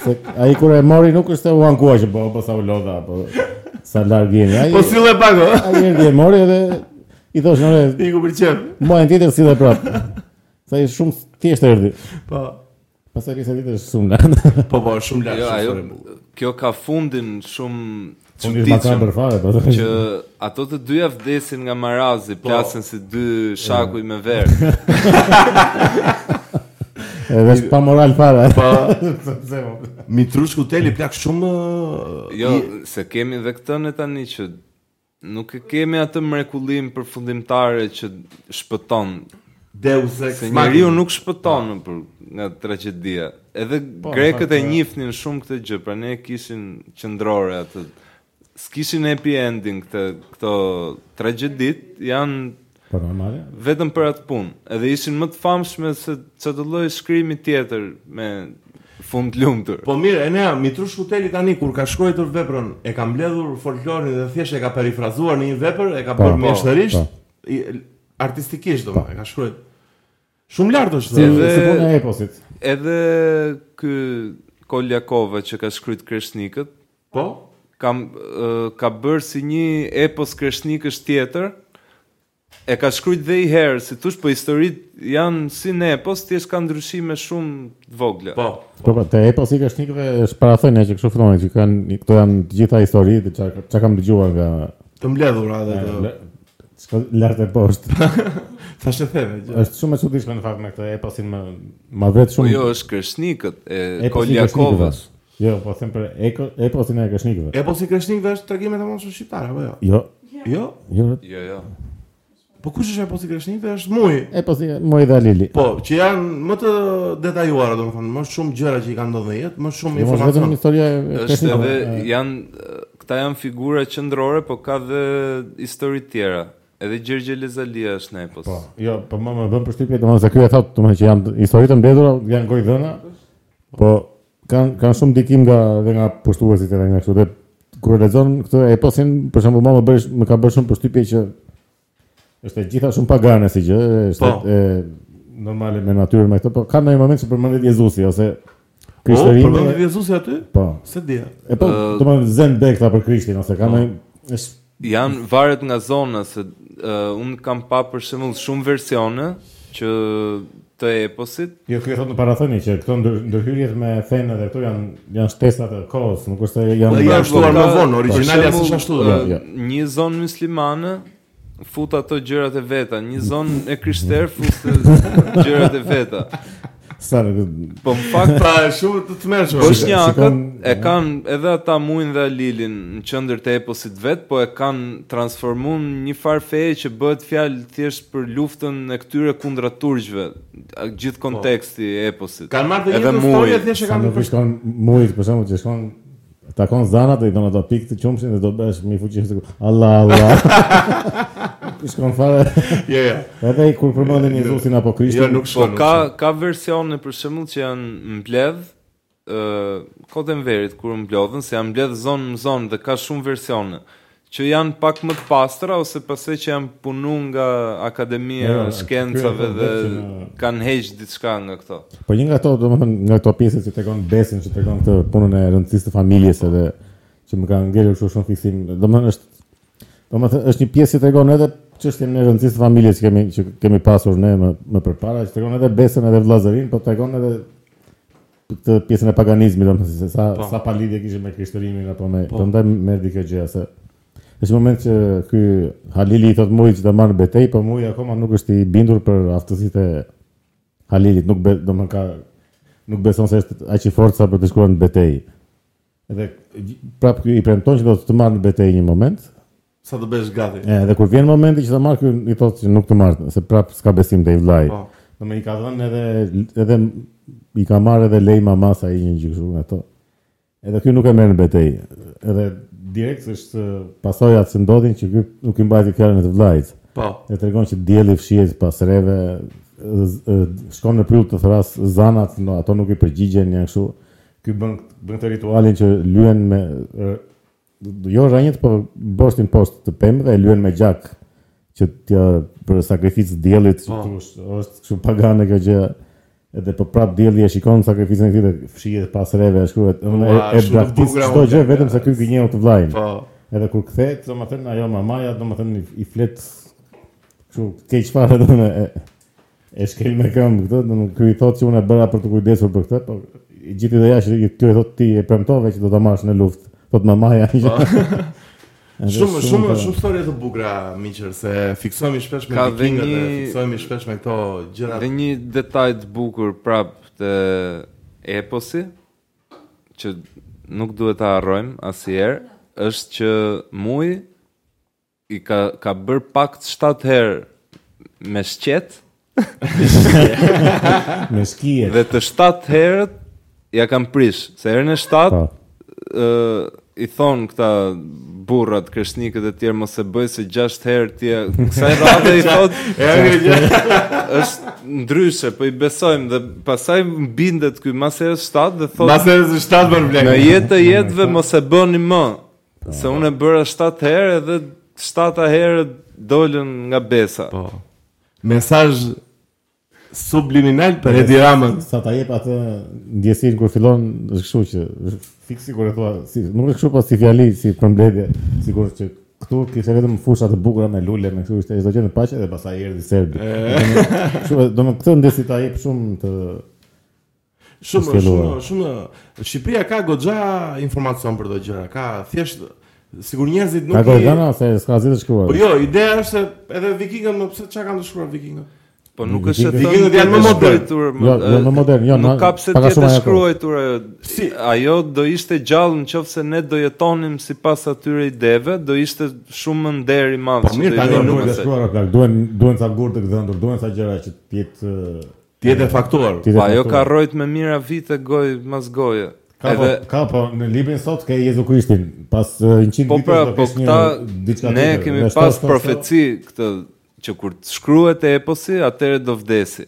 S1: Se ai kur e mori nuk është se u ankua që po po sa u lodha apo sa larg jeni. Ai
S2: Po sille pak o.
S1: ai erdhi e mori edhe i thoshin ore
S2: Ti ku pëlqen.
S1: muajin tjetër si dhe prap. Sa i shumë thjesht erdhi.
S2: Po.
S1: Pastaj pjesa tjetër është shumë larg.
S2: Po po, shumë larg.
S3: Jo,
S2: shumë
S3: ajo
S2: historia e bukur.
S3: kjo ka fundin shumë
S1: Unë ishtë
S3: çuditshëm
S1: makabër fare, po.
S3: që ato të dyja vdesin nga marazi,
S2: Po.
S3: plasin si dy shakuj me verë.
S1: Edhe është pa moral fare.
S2: Po.
S1: Sepse mo.
S2: Mitrushku Teli plak shumë
S3: Jo,
S2: i-
S3: se kemi dhe këtë në tani që nuk e kemi atë mrekullim përfundimtare që shpëton.
S2: Deus Ex
S3: Se
S2: Machina.
S3: njeriu nuk shpëton në për nga tragjedia. Edhe grekët
S1: fakt,
S3: e
S1: po.
S3: njifnin shumë këtë gjë, pra ne kishin qendrore atë. S'kishin happy ending këtë këto tragjeditë, janë
S1: Po normale.
S3: vetëm për atë punë. Edhe ishin më të famshme se çdo lloj shkrimi tjetër me fund lumtur.
S2: Po mirë, Enea, Mitrush Kuteli tani kur ka shkruar veprën, e ka mbledhur folklorin dhe thjesht e ka perifrazuar në një vepër, e ka
S1: Po,
S2: bërë
S1: po,
S2: mjeshtërisht,
S1: po.
S2: i- artistikisht domethënë, e ka shkruar shumë lart është.
S1: Si
S2: dhe- po
S3: Edhe-
S1: puna e eposit.
S3: Edhe ky Koljakova që ka shkruajt Kreshnikët,
S2: Po,
S3: kam ë, ka bërë si një epos kreshnikësh tjetër. E ka shkruajt dhe i herë, si thosh, po historitë janë si në epos, thjesht kanë ndryshime shumë të vogla.
S2: po.
S1: Po po, te eposi ka shnikëve është parathënia që kështu fillon që kanë këto janë të gjitha histori dhe çka çka kam dëgjuar nga
S2: Të mbledhura dhe të
S1: le- çka lart e poshtë.
S2: tash e theve. gjë.
S1: është shumë e çuditshme në fakt me këtë eposin më më vetë
S3: Po
S1: shumë.
S3: jo, është kreshnikët e
S1: eposin e
S3: Koljakovës.
S1: Kreshnikëve. Jo, po them për eko- eposin e Kreshnikëve.
S2: E po si kreshnikëve është tragime të moshë shqiptare apo jo?
S1: Jo,
S2: Jo.
S1: jo.
S3: Jo, jo.
S2: Po kush është e po si kreshnikëve është muj.
S1: Eposi Jo, Moj dhe Alili.
S2: Po, që janë më të detajuara domethënë, më shumë gjëra që i kanë ndodhur në jetë, më shumë
S1: Jo, mos vetëm
S2: informacion.
S1: historia e
S3: Është
S1: Kreshnikëve.
S3: edhe
S1: e-
S3: janë ë, këta janë figura qendrore, po ka dhe histori tjera. Edhe Gjergje Lezalia është në epos.
S1: Po, jo, po më më bën përshtypje domethënë se ky e thotë domethënë që janë histori të mbledhura, janë gojë dhëna. Po kanë kanë shumë ndikim nga dhe nga postuesit edhe nga kështu dhe kur e lexon këtë eposin, për shembull, më bësh më ka bërë shumë përshtypje që është e gjitha shumë pagane si gjë, është
S2: Po.
S1: e normale me natyrën me këtë, po ka ndonjë moment që përmendet Jezusi ose
S2: Po,
S1: Krishterimi.
S2: përmendit Jezusi aty?
S1: Po.
S2: Se dia.
S1: E po, domethënë Zen Bekta për Krishtin ose
S2: po.
S1: ka ndonjë është
S3: Janë varet nga zona se uh, unë kam pa për shembull shumë versione që të eposit.
S1: Jo, kjo e thotë në parathoni që këto ndër, ndërhyrjet me fenë dhe këto janë janë shtesat e kohës, nuk është se janë
S2: Dhe janë
S1: janë
S3: Janë
S2: shtuar
S3: vota-
S2: më vonë, origjinalja
S3: për shembull,
S2: s'është ashtu,
S3: ë,
S1: jo, jo.
S3: Një zonë muslimane fut ato gjërat e veta, një zonë e krishterë fut gjërat e veta.
S1: sa
S3: Po në fakt
S2: Pa, shumë të tmerrshme.
S3: Bosnjakët
S1: shikon-
S3: e kanë edhe ata muin dhe Lilin në qendër të eposit vet, po e kanë transformuar në një farë feje që bëhet fjalë thjesht për luftën e këtyre kundra turqëve, a- gjithë
S2: Po.
S3: konteksti i eposit.
S2: Kanë marrë të
S3: Edhe
S2: njëjtën
S3: muj.
S2: histori thjesht e
S1: sa
S2: kanë
S1: nuk i shkon mujt për shembull që shkon takon zanat dhe i don ato pikë të qumshin dhe do bësh mi fuqi se Allah Allah. I shkon fare.
S2: Jo, jo.
S1: Edhe i kur përmendin Jezusin apo
S2: Jo,
S1: Krishtin.
S2: nuk
S3: Po
S2: shkon.
S3: ka ka versione për shembull që janë mbledh ë kote e verit kur mblodhen se janë mbledh zonë në zonë dhe ka shumë versione që janë pak më të pastra ose pastaj që janë punu nga akademia
S1: Jo,
S3: e
S1: ky
S3: shkencave
S1: e
S3: dhe
S1: thon vetë që në-
S3: kanë heqë diçka nga këto.
S1: Po një nga ato, domethënë, nga ato pjesët që tregon besin, që tregon këtë punën e rëndësisë të familjes edhe që më ka ngelur kështu shumë fiksim. Domethënë është domethënë është një pjesë që tregon edhe çështjen e rëndësisë të familjes që kemi që kemi pasur ne më, më përpara, që tregon edhe besën edhe vëllazërinë, po tregon edhe këtë pjesën e paganizmit, domethënë se sa sa pa lidhje kishte me krishterimin apo me po. prandaj merdi kjo gjë se Është moment që ky Halili i thot mujt që ta marr betej, po muji akoma nuk është i bindur për aftësitë e Halilit nuk be, do më ka nuk beson se është aq i fortë sa për të shkuar në betejë. Edhe gj- prap ky i premton që do të të marrë në betejë një moment.
S2: Sa të bësh gati.
S1: E, edhe kur vjen momenti që ta marr ky i thotë që nuk të marr, se prap s'ka besim te i vllai.
S2: Po.
S1: Do më i ka dhënë edhe edhe i ka marrë edhe lej mama sa i një gjë kështu nga ato. Edhe ky nuk e merr në betejë. Edhe direkt është eh, pasojat që ndodhin që ky nuk i mbajti fjalën e të vllait.
S2: Po.
S1: E tregon që dielli fshihet pas reve, z- e- shkon në prill të thras zanat, no, ato nuk i përgjigjen, janë kështu. Ky bën bën këtë ritualin që lyen me e, jo rrënjët, po boshtin poshtë të pemëve e lyen me gjak që t'ja për sakrificë diellit, që thush, është kështu pagane kjo gjë. Edhe po prap dielli e shikon sakrificën e tij dhe fshihet pas reve, e shkruhet, domethënë e,
S2: Ua,
S1: e
S2: shumë e
S1: braktis
S2: bukur,
S1: çdo
S2: amor.
S1: gjë vetëm sa ky gënjeu të vllajin.
S2: Po.
S1: Edhe kur kthehet, domethënë ajo mamaja, domethënë i- i flet kështu keq fare domethënë e, e shkel me këmbë këtë, domethënë ky i thotë që unë e bëra për të kujdesur për këtë, po i gjithë ideja që i- ky i thotë ti e premtove që do ta marrësh në luftë. Thot mamaja. Edhe
S2: Shumë
S1: ka-
S2: shumë shumë histori të bukura miqër se fiksohemi shpesh me
S3: Ka dhe
S2: vikingat dhe
S3: një-
S2: fiksohemi shpesh me këto gjëra.
S3: Dhe një detaj të bukur prap të eposi që nuk duhet ta harrojmë asnjëherë është që muj i ka ka bër pakt 7 herë me shqet
S1: me skije.
S3: dhe të 7 herët ja kanë prish se herën e 7
S1: Po.
S3: ë i thon këta burrat kreshnikët e tjerë mos e bëj se 6 herë ti kësaj radhe i thot
S2: E, e, e,
S3: është ndryshe, po i besojmë dhe pastaj bindet ky mas herë 7 dhe thotë
S2: Mbas herës së 7 bën vlek.
S3: Po. në jetë e jetëve mos e bëni më. Se unë e bëra 7 herë edhe 7 herë dolën nga besa.
S2: Po. Mesazh subliminal për Edi Ramën.
S1: Sa ta jep atë ndjesinë kur fillon, është kështu që është fiksi kur e thua, si nuk është kështu po si fjali, si përmbledhje, sikur që këtu kishte vetëm fusha të bukura me lule, me kështu ishte çdo gjë në paqe dhe pastaj erdhi serbi. Kështu, domethënë këtë ndjesi ta jep shumë të
S2: Shumë
S1: Është e
S2: shumë
S1: luar.
S2: shumë Shqipëria ka goxha informacion për këto gjëra. Ka thjesht sigur njerëzit
S1: ka
S2: nuk i-
S1: gjëra se s'ka asgjë të shkruar.
S2: Po jo, ideja është se edhe vikingët, më pse çka kanë të shkruar vikingët?
S3: Po nuk është e
S1: Vikingët-
S3: thënë
S2: vikingët janë më
S3: e
S2: modern.
S3: shkruajtur, më-
S1: Jo, jo,
S3: e,
S1: më modern, jo,
S3: Nuk
S1: na-
S3: ka pse
S1: pak a
S3: të
S1: shumë
S3: jetë
S1: ajo ka.
S3: shkruajtur ajo.
S2: Si?
S3: Ajo do ishte gjallë nëse ne do jetonim sipas atyre ideve, do ishte shumë më nder i madh.
S2: Po
S3: që
S2: mirë,
S3: do
S2: tani
S1: Jo,
S3: jetonim
S1: nuk
S3: asaj.
S1: është shkruar plak, duhen duhen sa gurë të dhëndër, duhen sa gjëra që të jetë eh,
S2: Tjetër faktor.
S1: të jetë
S3: Po ajo ka
S1: faktuar.
S3: rrojt me mira vite gojë mas goje.
S1: Ka po,
S3: Edhe
S1: ka po në librin sot ke Jezu Krishtin, pas eh, 100
S3: po pra,
S1: do
S3: po
S1: kesh një
S3: këta
S1: diçka
S3: ne
S1: tjetër.
S3: kemi
S1: Dhe shtas-
S3: pas
S1: shtas-
S3: profeci këtë që kur të shkruhet e eposi, atëherë do vdesi.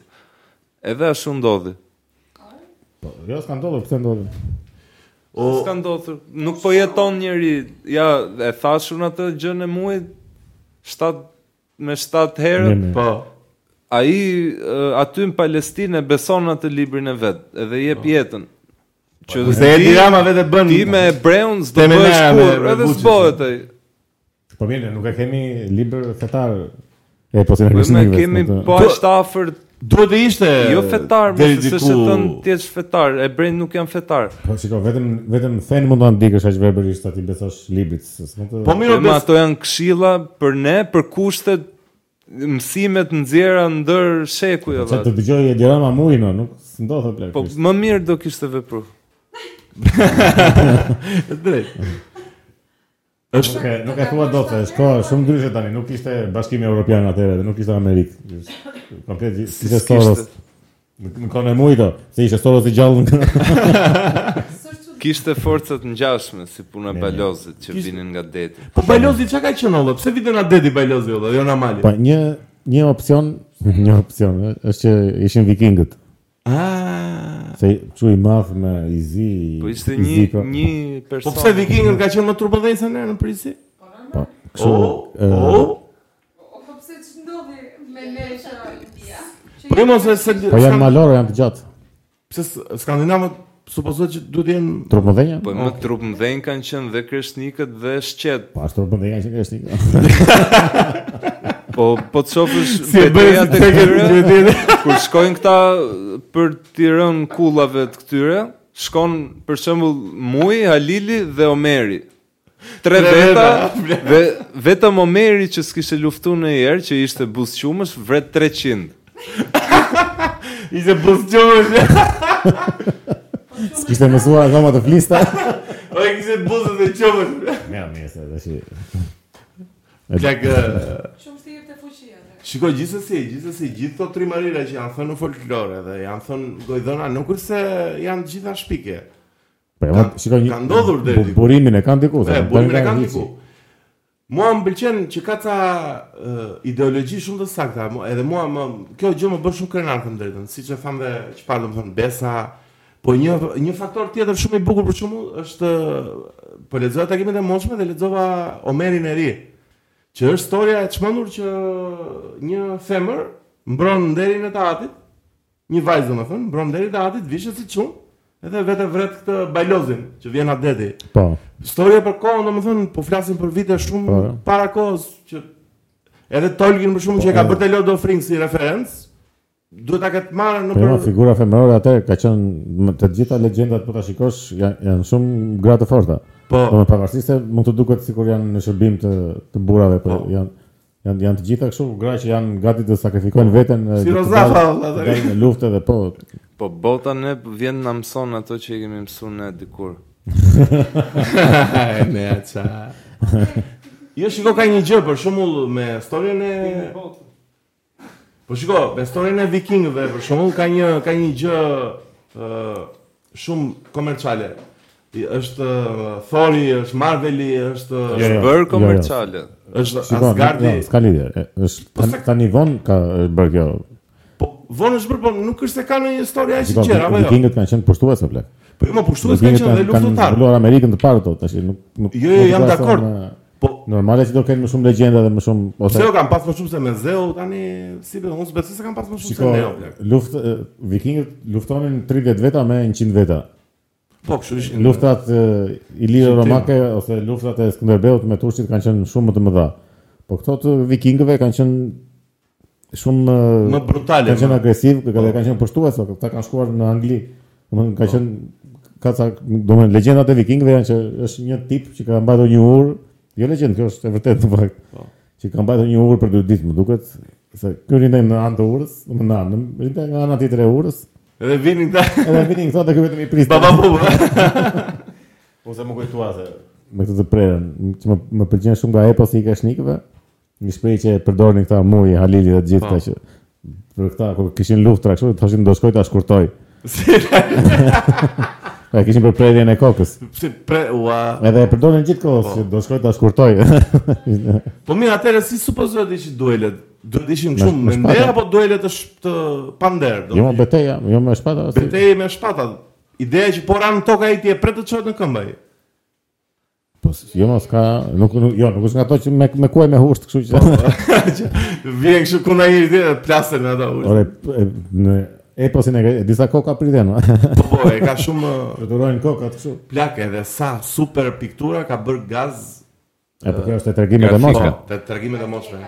S3: Edhe ashtu ndodhi.
S1: Po, Jo, s'ka ndodhur, pse ndodhur?
S2: O
S3: S'ka ndodhur. Nuk po jeton njëri. Ja, e thashun atë gjën e muajit 7 me 7 herë.
S1: Mirë, mirë.
S2: po.
S3: Ai e, aty në Palestinë e beson atë librin e vet dhe jep jetën. Që
S2: Kurse Edi
S3: ti-
S2: Rama vetë bën
S3: ti me Breun s'do
S2: Temenea
S3: bësh
S2: me-
S3: kur,
S2: me
S3: edhe
S2: Vučićin.
S3: s'bohet ai.
S1: Po mirë, nuk e kemi libër fetar e po se
S3: Po
S1: nuk
S3: me kemi po
S1: po.
S3: aq të afërt
S2: duhet të ishte
S3: Jo fetar, mos
S2: deri
S3: se
S2: diku-
S3: s'është thën ti je fetar, e brein nuk janë fetar.
S1: Po shiko, vetëm vetëm fen mund ta ndikësh aq verbalisht aty besosh librit, se s'mund të.
S2: Po mirë,
S3: Mirë,
S2: bes-
S3: ato janë këshilla për ne, për kushtet mësimet nxjera ndër shekuj
S1: Çe
S3: edhe.
S1: të dëgjoj e dirama muin, o, nuk s'ndodhë plak.
S3: Po më mirë do kishte vepru.
S2: Është drejt.
S1: nuk e nuk e thua dot, se është kohë shumë ndryshe tani, nuk ishte Bashkimi Evropian atëherë, dhe nuk ishte Amerikë. Ishte Komplet ishte
S3: s'kishte.
S1: Soros. Në në kohën e muajit, o, se ishte Soros i gjallë.
S3: Kishte forcat ngjashme si puna e
S1: Ne, ne.
S3: balozit që vinin nga deti.
S2: Po Bajlozi çka ka qenë olla? Pse vjen na deti Bajlozi olla, jo na mali?
S1: Po një një opsion, një opsion ë, është që ishin vikingët.
S2: Ah.
S1: Se çu i madh me i zi. i-
S3: Po ishte
S1: i
S3: një
S1: zi, po.
S3: një
S2: Po
S3: person.
S2: pse vikingët ka qenë më turpëdhënë se ne në Prisi?
S1: Po,
S2: O,
S1: kështu. ë,
S2: o.
S5: O, po pse që ndodhi me lesha India?
S2: Po mos se se
S1: Po janë
S2: skan-
S1: malore, janë të gjatë.
S2: pse s- skandinavët supozohet që duhet jenë
S1: Trup më dhenja?
S3: Po më trup mdhenj kanë qenë dhe kreshnikët dhe shqet.
S1: Po ashtu trup më dhenja që kesh një.
S3: Po po të shofësh
S2: si e bën
S3: betejat e
S2: tek
S3: këtyre
S2: vetë.
S3: kur shkojnë këta për t'i rënë kullave të këtyre, shkon për shembull Muj, Halili dhe Omeri. Tre
S2: Tre
S3: veta
S2: veta.
S3: dhe vetëm Omeri që s'kishte luftuar në herë që ishte buzqumësh vret 300.
S2: Ishte buzëqumësh.
S1: S'kishte mësuar akoma të flista.
S2: O e kishte buzët e qumësh.
S1: Mja, mja, se tash.
S2: Plak ë,
S5: Shumë thirë të fuqia dhe.
S2: Shiko, gjithsesi, gjithsesi, gjithë këto tri marira që janë thënë në folklore dhe janë thënë gojdhëna, nuk është se janë të gjitha shpike.
S1: Po ja,
S2: Ka-
S1: shikoj një.
S2: ka ndodhur deri
S1: bu-
S2: diku.
S1: Burimin e kanë diku.
S2: E,
S1: se
S2: burimin e
S1: kanë
S2: kanë
S1: hiqi.
S2: diku. po. Mua më pëlqen që ka ca ë, ideologji shumë të sakta, mu- edhe mua më kjo gjë më bën shumë krenar të drejtën, siç e tham dhe çfarë do të thonë besa. Po një një faktor tjetër shumë i bukur për shembull është ë, po lexoja takimet e mosme dhe lexova Omerin e ri, që është historia e çmendur që një femër mbron nderin e tatit, një vajzë domethënë, mbron nderin e tatit, vishet si çun, edhe vetë vret këtë bajlozin që vjen atdeti.
S1: Po.
S2: Historia për kohën, domethënë, po flasim për vite shumë
S1: Po, jo.
S2: para kohës që edhe Tolkien për shkakun që e ka
S1: e.
S2: bërë te Lord of the Rings si referencë, duhet ta ketë marrë në
S1: Po ja,
S2: për
S1: figura femërore atë ka qenë më të gjitha legjendat po ta shikosh janë, janë shumë gra të forta.
S2: po
S1: Po më pavarësisht se mund të duket sikur janë në shërbim të të burrave, po
S2: Po.
S1: janë janë janë të gjitha kështu gra që janë gati të sakrifikojnë veten e,
S2: si
S1: të
S2: Rozafa
S1: dalin-
S2: valla
S1: të
S2: tani.
S1: dalin në luftë edhe po
S3: Po bota ne vjen na mëson ato që i kemi mësuar ne dikur.
S1: po.
S2: Ne aça. Jo shiko ka një gjë për shembull me historinë e Po shiko, me historinë e vikingëve për shembull ka një ka një gjë ë shumë komerciale. I- Është ë, Thori, është Marveli, është
S1: Jo, jo.
S3: Bër komerciale.
S2: është
S1: Shikon,
S2: Asgardi.
S1: jo, s'ka lidhje. E, Është tani- tani von ka e, bërë kjo.
S2: Po vonë është bërë, po nuk është se ka ndonjë histori aq
S1: Shiko,
S2: sinqer apo jo.
S1: Vikingët kanë qenë pushtues apo plak.
S2: Po jo, më pushtues kanë qenë dhe
S1: Kanë
S2: luftëtar.
S1: zhvilluar Amerikën të parë ato, tash nuk nuk
S2: Jo, jo,
S1: nuk
S2: jam
S1: ka sa
S2: dakord.
S1: me-
S2: Po
S1: Normale që do kenë më shumë legjenda dhe më shumë ose
S2: pse jo kam pas më shumë se me Zeu tani, si be, unë s'besoj se kam pas më shumë
S1: Shiko,
S2: se Neo. plak.
S1: luftë vikingët luftonin 30 veta me 100 veta.
S2: Po, kështu ishin.
S1: Luftat e, ilire
S2: Shqiptim.
S1: romake ose luftat e Skënderbeut me turqit kanë qenë shumë më të mëdha. Po këto të vikingëve kanë qenë shumë e,
S2: Më brutale,
S1: Kanë qenë
S2: më. Po.
S1: agresiv, kanë dhe kanë qenë pushtues, o, këta kanë shkuar në Angli. Domethënë ka qenë ka ca, domethënë legjendat e vikingëve janë që është një tip që ka mbajtur një urë, jo legjend, kjo është e vërtetë në fakt.
S2: Po.
S1: Që ka mbajtur një urë për dy ditë, më duket, se ky rindej në anë të urës, domethënë në anë, rindej nga ana tjetër e urës.
S2: Edhe vinin këta
S1: Edhe vinin këta dhe ky vetëm i priste.
S2: baba buba. Ose më kujtua se
S1: me këtë të prerën, që më, më pëlqen shumë nga eposi i kashnikëve, një shprehje që e përdorin këta muj, Halili dhe të gjithë këta që për këta kur kishin luftë kështu, thoshin do shkoj ta shkurtoj. Ai kishin për prerjen e kokës.
S2: pse pre ua.
S1: Edhe e përdorin gjithkohës që do shkoj ta shkurtoj.
S2: Po mirë, atëherë si supozohet ishin duelet? Duhet ishin shumë
S1: me
S2: me nder
S1: shpata.
S2: apo duelet të sh- të pander? Do
S1: jo më betejë, jo më shpata. si-
S2: betejë me shpata. Ideja që po ran toka ai ti e pret të çohet në këmbë. ai.
S1: Po s- jo më s'ka, nuk, nuk jo, nuk është nga ato që me me kuaj me husht, kështu që.
S2: Vjen kështu kundra njëri tjetër plasen me ato. ujë.
S1: Ore e- në eposin e e disa koka priten.
S2: Po po, e ka shumë ë,
S1: Përturojnë kokat kështu.
S2: plak edhe sa super piktura ka bër gaz
S1: E po kjo është e tregimet e
S2: po,
S1: moshme.
S2: të tregimet e moshme.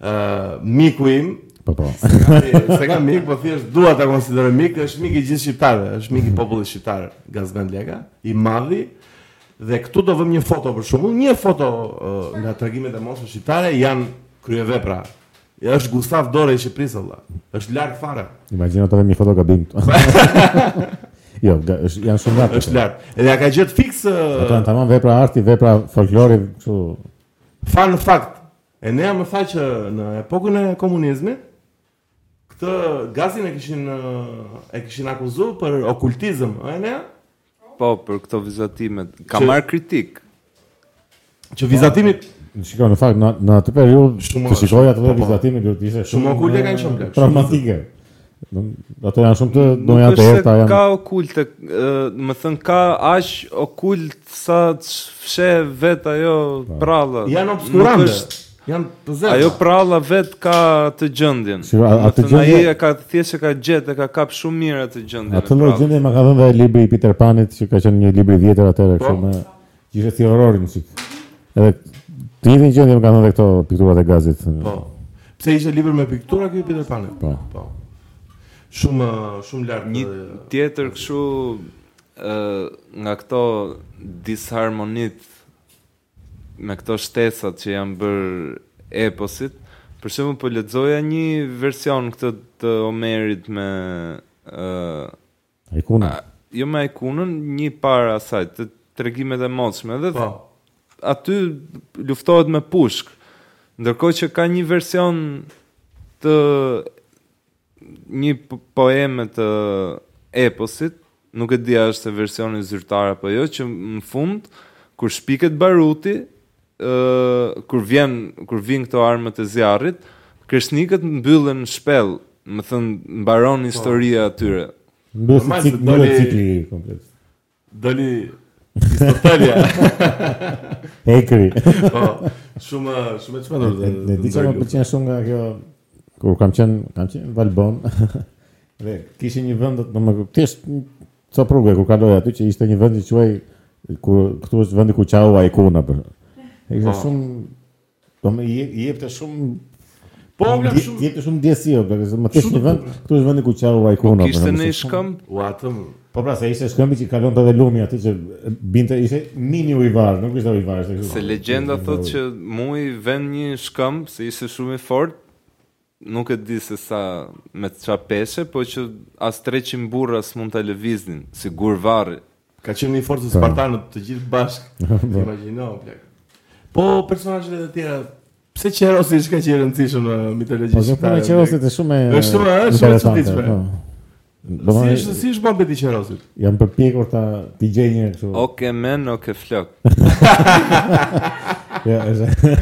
S2: Ë miku im,
S1: Po po.
S2: se ka mik, po thjesht dua ta konsideroj mik, është mik i gjithë shqiptarëve, është mik i popullit shqiptar, Gazmen Leka, i madhi. Dhe këtu do vëmë një foto për shembull, një foto ë, nga tregimet e moshme shqiptare janë kryevepra. Është Gustav Dore i Shqipërisë valla. Është larg fare.
S1: Imagjino të vemi fotogabim këtu. jo, ga- është- janë shumë ratë.
S2: Është larg. Edhe ja ka gjetë fiks ë,
S1: Ato janë tamam vepra arti, vepra folklori, kështu.
S2: Fun fact, e nea më tha që në epokën e komunizmit, këtë gazin e kishin ë, e kishin akuzuar për okultizëm, e nea,
S3: Po, për këto vizatimet. Ka
S2: Që-
S3: marrë kritik.
S1: Po,
S2: që vizatimi
S1: Shikoj, në fakt, në, në atë periudhë,
S2: Shumë-
S1: të shikoj atë dhe
S2: po, po.
S1: vizatimi, do të ishte
S2: Shumë okulte kanë qenë, plak, shumë.
S1: Traumatike. Dom- Ato janë shumë të, do janë të
S3: është se
S1: erta, janë...
S3: ka okulte, ë, më thënë ka aq okult sa të fshe vet ajo
S1: Po.
S3: pralla.
S2: janë
S3: Nuk
S2: obskurante.
S3: është-
S2: Janë të zezë.
S3: Ajo pralla vet ka atë gjendjen.
S1: Shiko, a-
S3: Më
S1: atë
S3: thënë,
S1: gjendje-
S3: ai e ka thjesht e ka gjetë, e ka kap shumë mirë atë gjendjen. e
S1: Atë lloj
S3: prallës.
S1: gjendje ma ka dhënë dhe libri i Peter Panit, që ka qenë një libër i vjetër atëherë, kështu me gjithë si horrorin sik. Edhe të njëjtin gjendje më ka dhënë dhe këto pikturat e gazit.
S2: Po. Pse ishte libër me piktura ky Peter Pan?
S1: Po.
S2: Po. Shumë ë, shumë larg
S3: Një
S2: ë,
S3: tjetër kështu ë nga këto disharmonit me këto shtesat që janë bërë eposit, për shembull po lexoja një version këtë të Homerit me ë
S1: Ikuna.
S3: a- jo me Aikunën, një para asaj, të tregimet e motshme dhe
S2: Po.
S3: aty luftohet me pushk. Ndërkohë që ka një version të një po- poeme të eposit, nuk e di a është se versioni zyrtar apo jo, që në fund kur shpiket baruti, ë kur vjen kur vin këto armët e zjarrit, kreshnikët mbyllen në shpellë, më thënë mbaron historia atyre.
S1: Mbyllet
S2: Normal,
S1: cikli,
S2: se
S1: mbyllet
S2: doli-
S1: cikli komplet.
S2: Doli Aristotelia.
S1: Hekri.
S2: po. Shumë ë, shumë e çmendur.
S1: Ne ne di që më pëlqen shumë nga kjo kur kam qenë kam qenë në Valbon. dhe kishin një vend do më thjesht një- ca rrugë kur kaloj aty që ishte një vend që quaj ku këtu është vendi ku qau Aikuna për. E Ishte shumë do më i i jepte shumë
S2: Po, plak,
S1: dje-
S2: shumë.
S1: jepte shumë ndjesi, për më thjesht një vend, këtu është vendi ku qau Aikuna.
S3: Kishte
S1: për,
S3: në
S1: ishte shumë-
S3: shkëmb
S2: Ua, atë më-
S1: Po pra, se ishte shkëmbi që kalonte edhe lumi aty që binte ishte mini ujvar, nuk ishte ujvar, ishte kështu.
S3: Se legjenda thot që muj vend një shkëmb se ishte shumë i fortë, nuk e di se sa me qa peshe, po që as 300 burra s'mund ta lëviznin, si gurvarri.
S2: Ka qenë një
S1: Po.
S2: forcë spartanët të gjithë bashkë. Imagjino, plak. Po personazhet e tjera, pse Qerosi është kaq i rëndësishëm eh, në
S1: Po
S2: mitologjinë
S1: se puna e
S2: shqiptare?
S1: qerosit
S2: plak?
S1: është shumë e
S2: Është shumë- është shumë e
S1: interesante,
S2: çuditshme.
S1: po. Do
S2: Si
S1: më
S2: është si është mohabeti i Qerosit?
S1: jam përpjekur ta ti gjej një kështu.
S3: Oke men, oke flok.
S1: Ja, është.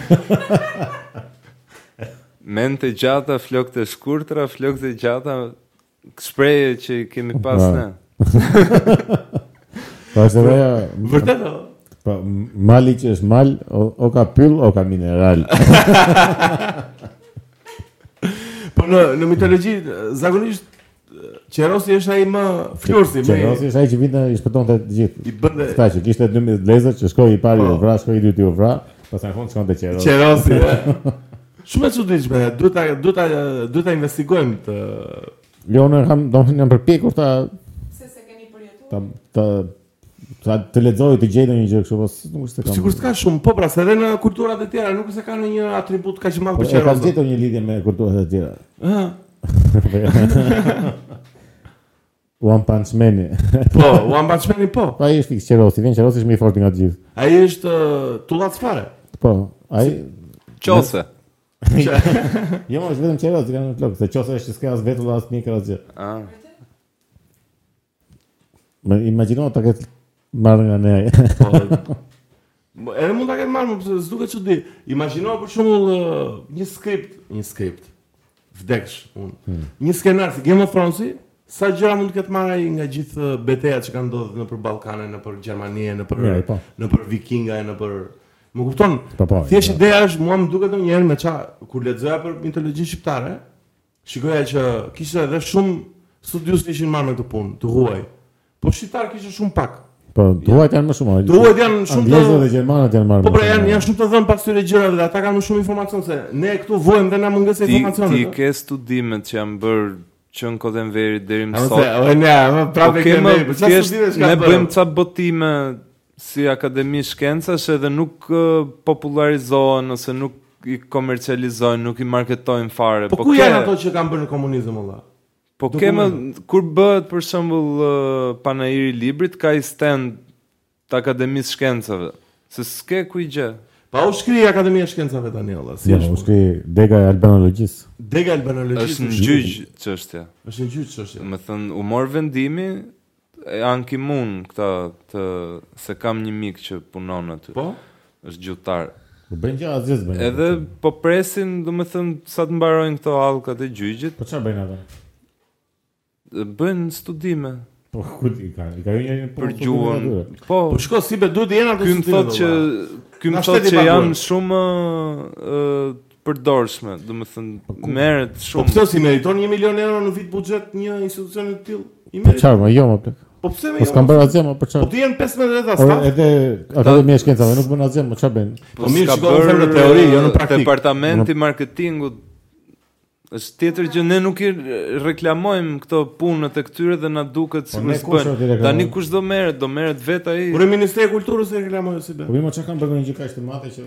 S3: Men të gjata, flok të shkurtra, flok të gjata, shpreje që kemi pas
S1: Bravo.
S3: ne.
S1: Po është edhe ajo,
S2: Vërtet o?
S1: po m- mali që është mal, o, o ka pyll, o ka mineral.
S2: Po në në mitologji eh, zakonisht eh, Qerosi është ai më flursi, më
S1: Qerosi është ai që vinte i shpëtonte të gjithë.
S2: i bënte
S1: Kta që kishte 12 lezër që shkoi i pari
S2: Po.
S1: u vra, shkoi i dyti u vra, pastaj në fund shkonte Qerosi.
S2: Qerosi. e. Shumë e çuditshme, duhet ta duhet ta duhet ta investigojmë të
S1: Jo, unë kam domethënë jam përpjekur ta
S5: Se se keni përjetuar.
S1: ta ta ta të lexoj të gjej ndonjë gjë kështu, po s- nuk është se kam.
S2: sigurisht ka shumë, po pra se edhe në kulturat e tjera nuk është se ka ndonjë atribut kaq të madh
S1: Po
S2: për
S1: e kam
S2: Qerosin.
S1: gjetur një lidhje me kulturën e tjera.
S2: Ëh.
S1: One Punch Man.
S2: Po, u ambashmeni po.
S1: Po ai është fiks Qerosi, vjen Qerosi është më i fortë nga të gjithë.
S2: Ai është eh, tullac fare.
S1: Po, ai
S3: Qose.
S1: jo më është vetëm Qerosi kanë flok, se qose është s'ka as vetull as mikro asgjë.
S3: Ah.
S1: Më imagjino ta ketë marrë nga ne.
S2: Po. Mo- Edhe mund ta ketë marrë, më pse s'duket çudi. Imagjino për shembull ë, një skript, një skript. Vdeksh unë.
S1: Hmm.
S2: Një skenar si Game of Thrones, sa gjëra mund të ketë marrë ai nga gjithë ë, betejat që kanë ndodhur nëpër Ballkane, nëpër Gjermani, nëpër
S1: Mirë, po.
S2: nëpër vikinga, nëpër Më kupton?
S1: Po, po,
S2: Thjesht
S1: jo.
S2: ideja është mua më duket ndonjëherë me ça kur lexoja për mitologjinë shqiptare, shikoja që kishte edhe shumë studios që ishin marrë me këtë punë, të huaj. Po shqiptar kishte shumë pak.
S1: Po, duhet janë më shumë. o,
S2: Duhet janë shumë të-
S1: Anglezët dhe gjermanët janë marrë.
S2: Po
S1: më
S2: pra
S1: shumë,
S2: janë
S1: o.
S2: janë shumë të dhënë pas këtyre gjërave dhe ata kanë më shumë informacion se ne këtu vojmë dhe na mungesë
S3: Ti, ti
S2: informacionit.
S3: ke studimet që janë bërë që në kodën veri deri më
S2: A mos e,
S3: sot.
S2: o ne, më
S3: Po
S2: prapë
S3: kemë,
S2: kemë, po çfarë
S3: thjesht
S2: studime
S3: ne
S2: ka bërë?
S3: bëjmë ca botime si Akademi Shkencash edhe nuk ë, popularizohen ose nuk i komercializojnë, nuk i marketojnë fare.
S2: Po ku
S3: ke-
S2: janë ato që kanë bërë në komunizëm valla?
S3: Po kemë kur bëhet për shembull ë, panajiri i librit ka i stand të Akademisë Shkencave. Se s'ke ku i gjë.
S2: Pa u shkri Akademia e Shkencave tani valla, si
S1: Jo,
S2: është?
S1: u shkri dega e albanologjisë.
S2: Dega albanologjisë
S3: Është në gjyq çështja.
S2: Është në gjyq çështja.
S3: Më thënë, u morë vendimi, e anki mund këta të... Se kam një mik që punon aty.
S2: Po?
S3: është gjutar.
S1: Po bëjnë gjë asgjë s'bëjnë.
S3: Edhe po presin, do më thënë, sa të mbarojnë këto halkat e gjyqit,
S1: po çfarë bëjnë ata?
S3: bëjnë studime
S1: Po ku i kanë? I ka një një
S3: për gjuhën. Po,
S2: Po shko si be duhet të jenë ato
S3: ky më
S2: studime,
S3: thotë që
S2: valla.
S3: ky
S2: Na
S3: më thotë
S2: shteti
S3: që
S2: pa
S3: janë
S2: duhet.
S3: shumë ë të përdorshme, do të thënë merret
S2: Po
S3: shumë.
S2: pse si meriton 1 milion euro në vit buxhet një institucion i tillë? I
S1: Po
S2: merit.
S1: çfarë, më jo më plak.
S2: Po pse më?
S1: Po s'kan bërë asgjë më për
S2: Po
S1: çfarë?
S2: ti janë 15 veta
S1: Ore,
S2: staf.
S1: edhe akademia e shkencave nuk bën asgjë, më çfarë bëjnë?
S2: Po mirë,
S3: s'ka
S2: shiko, unë them në
S3: bërë
S2: teori, jo në praktikë.
S3: Departamenti i marketingut është tjetër gjë ne nuk i reklamojmë këto punët e këtyre dhe na
S2: Po,
S3: duket
S1: ne
S3: sikur
S1: kush do t'i
S3: s'bën.
S1: reklamojmë?
S3: Tani kush do merret, do merret vetë ai.
S2: Por e Ministria e Kulturës e reklamoi si be.
S1: Po mirë, më çfarë kanë bërë një gjë kaq të madhe që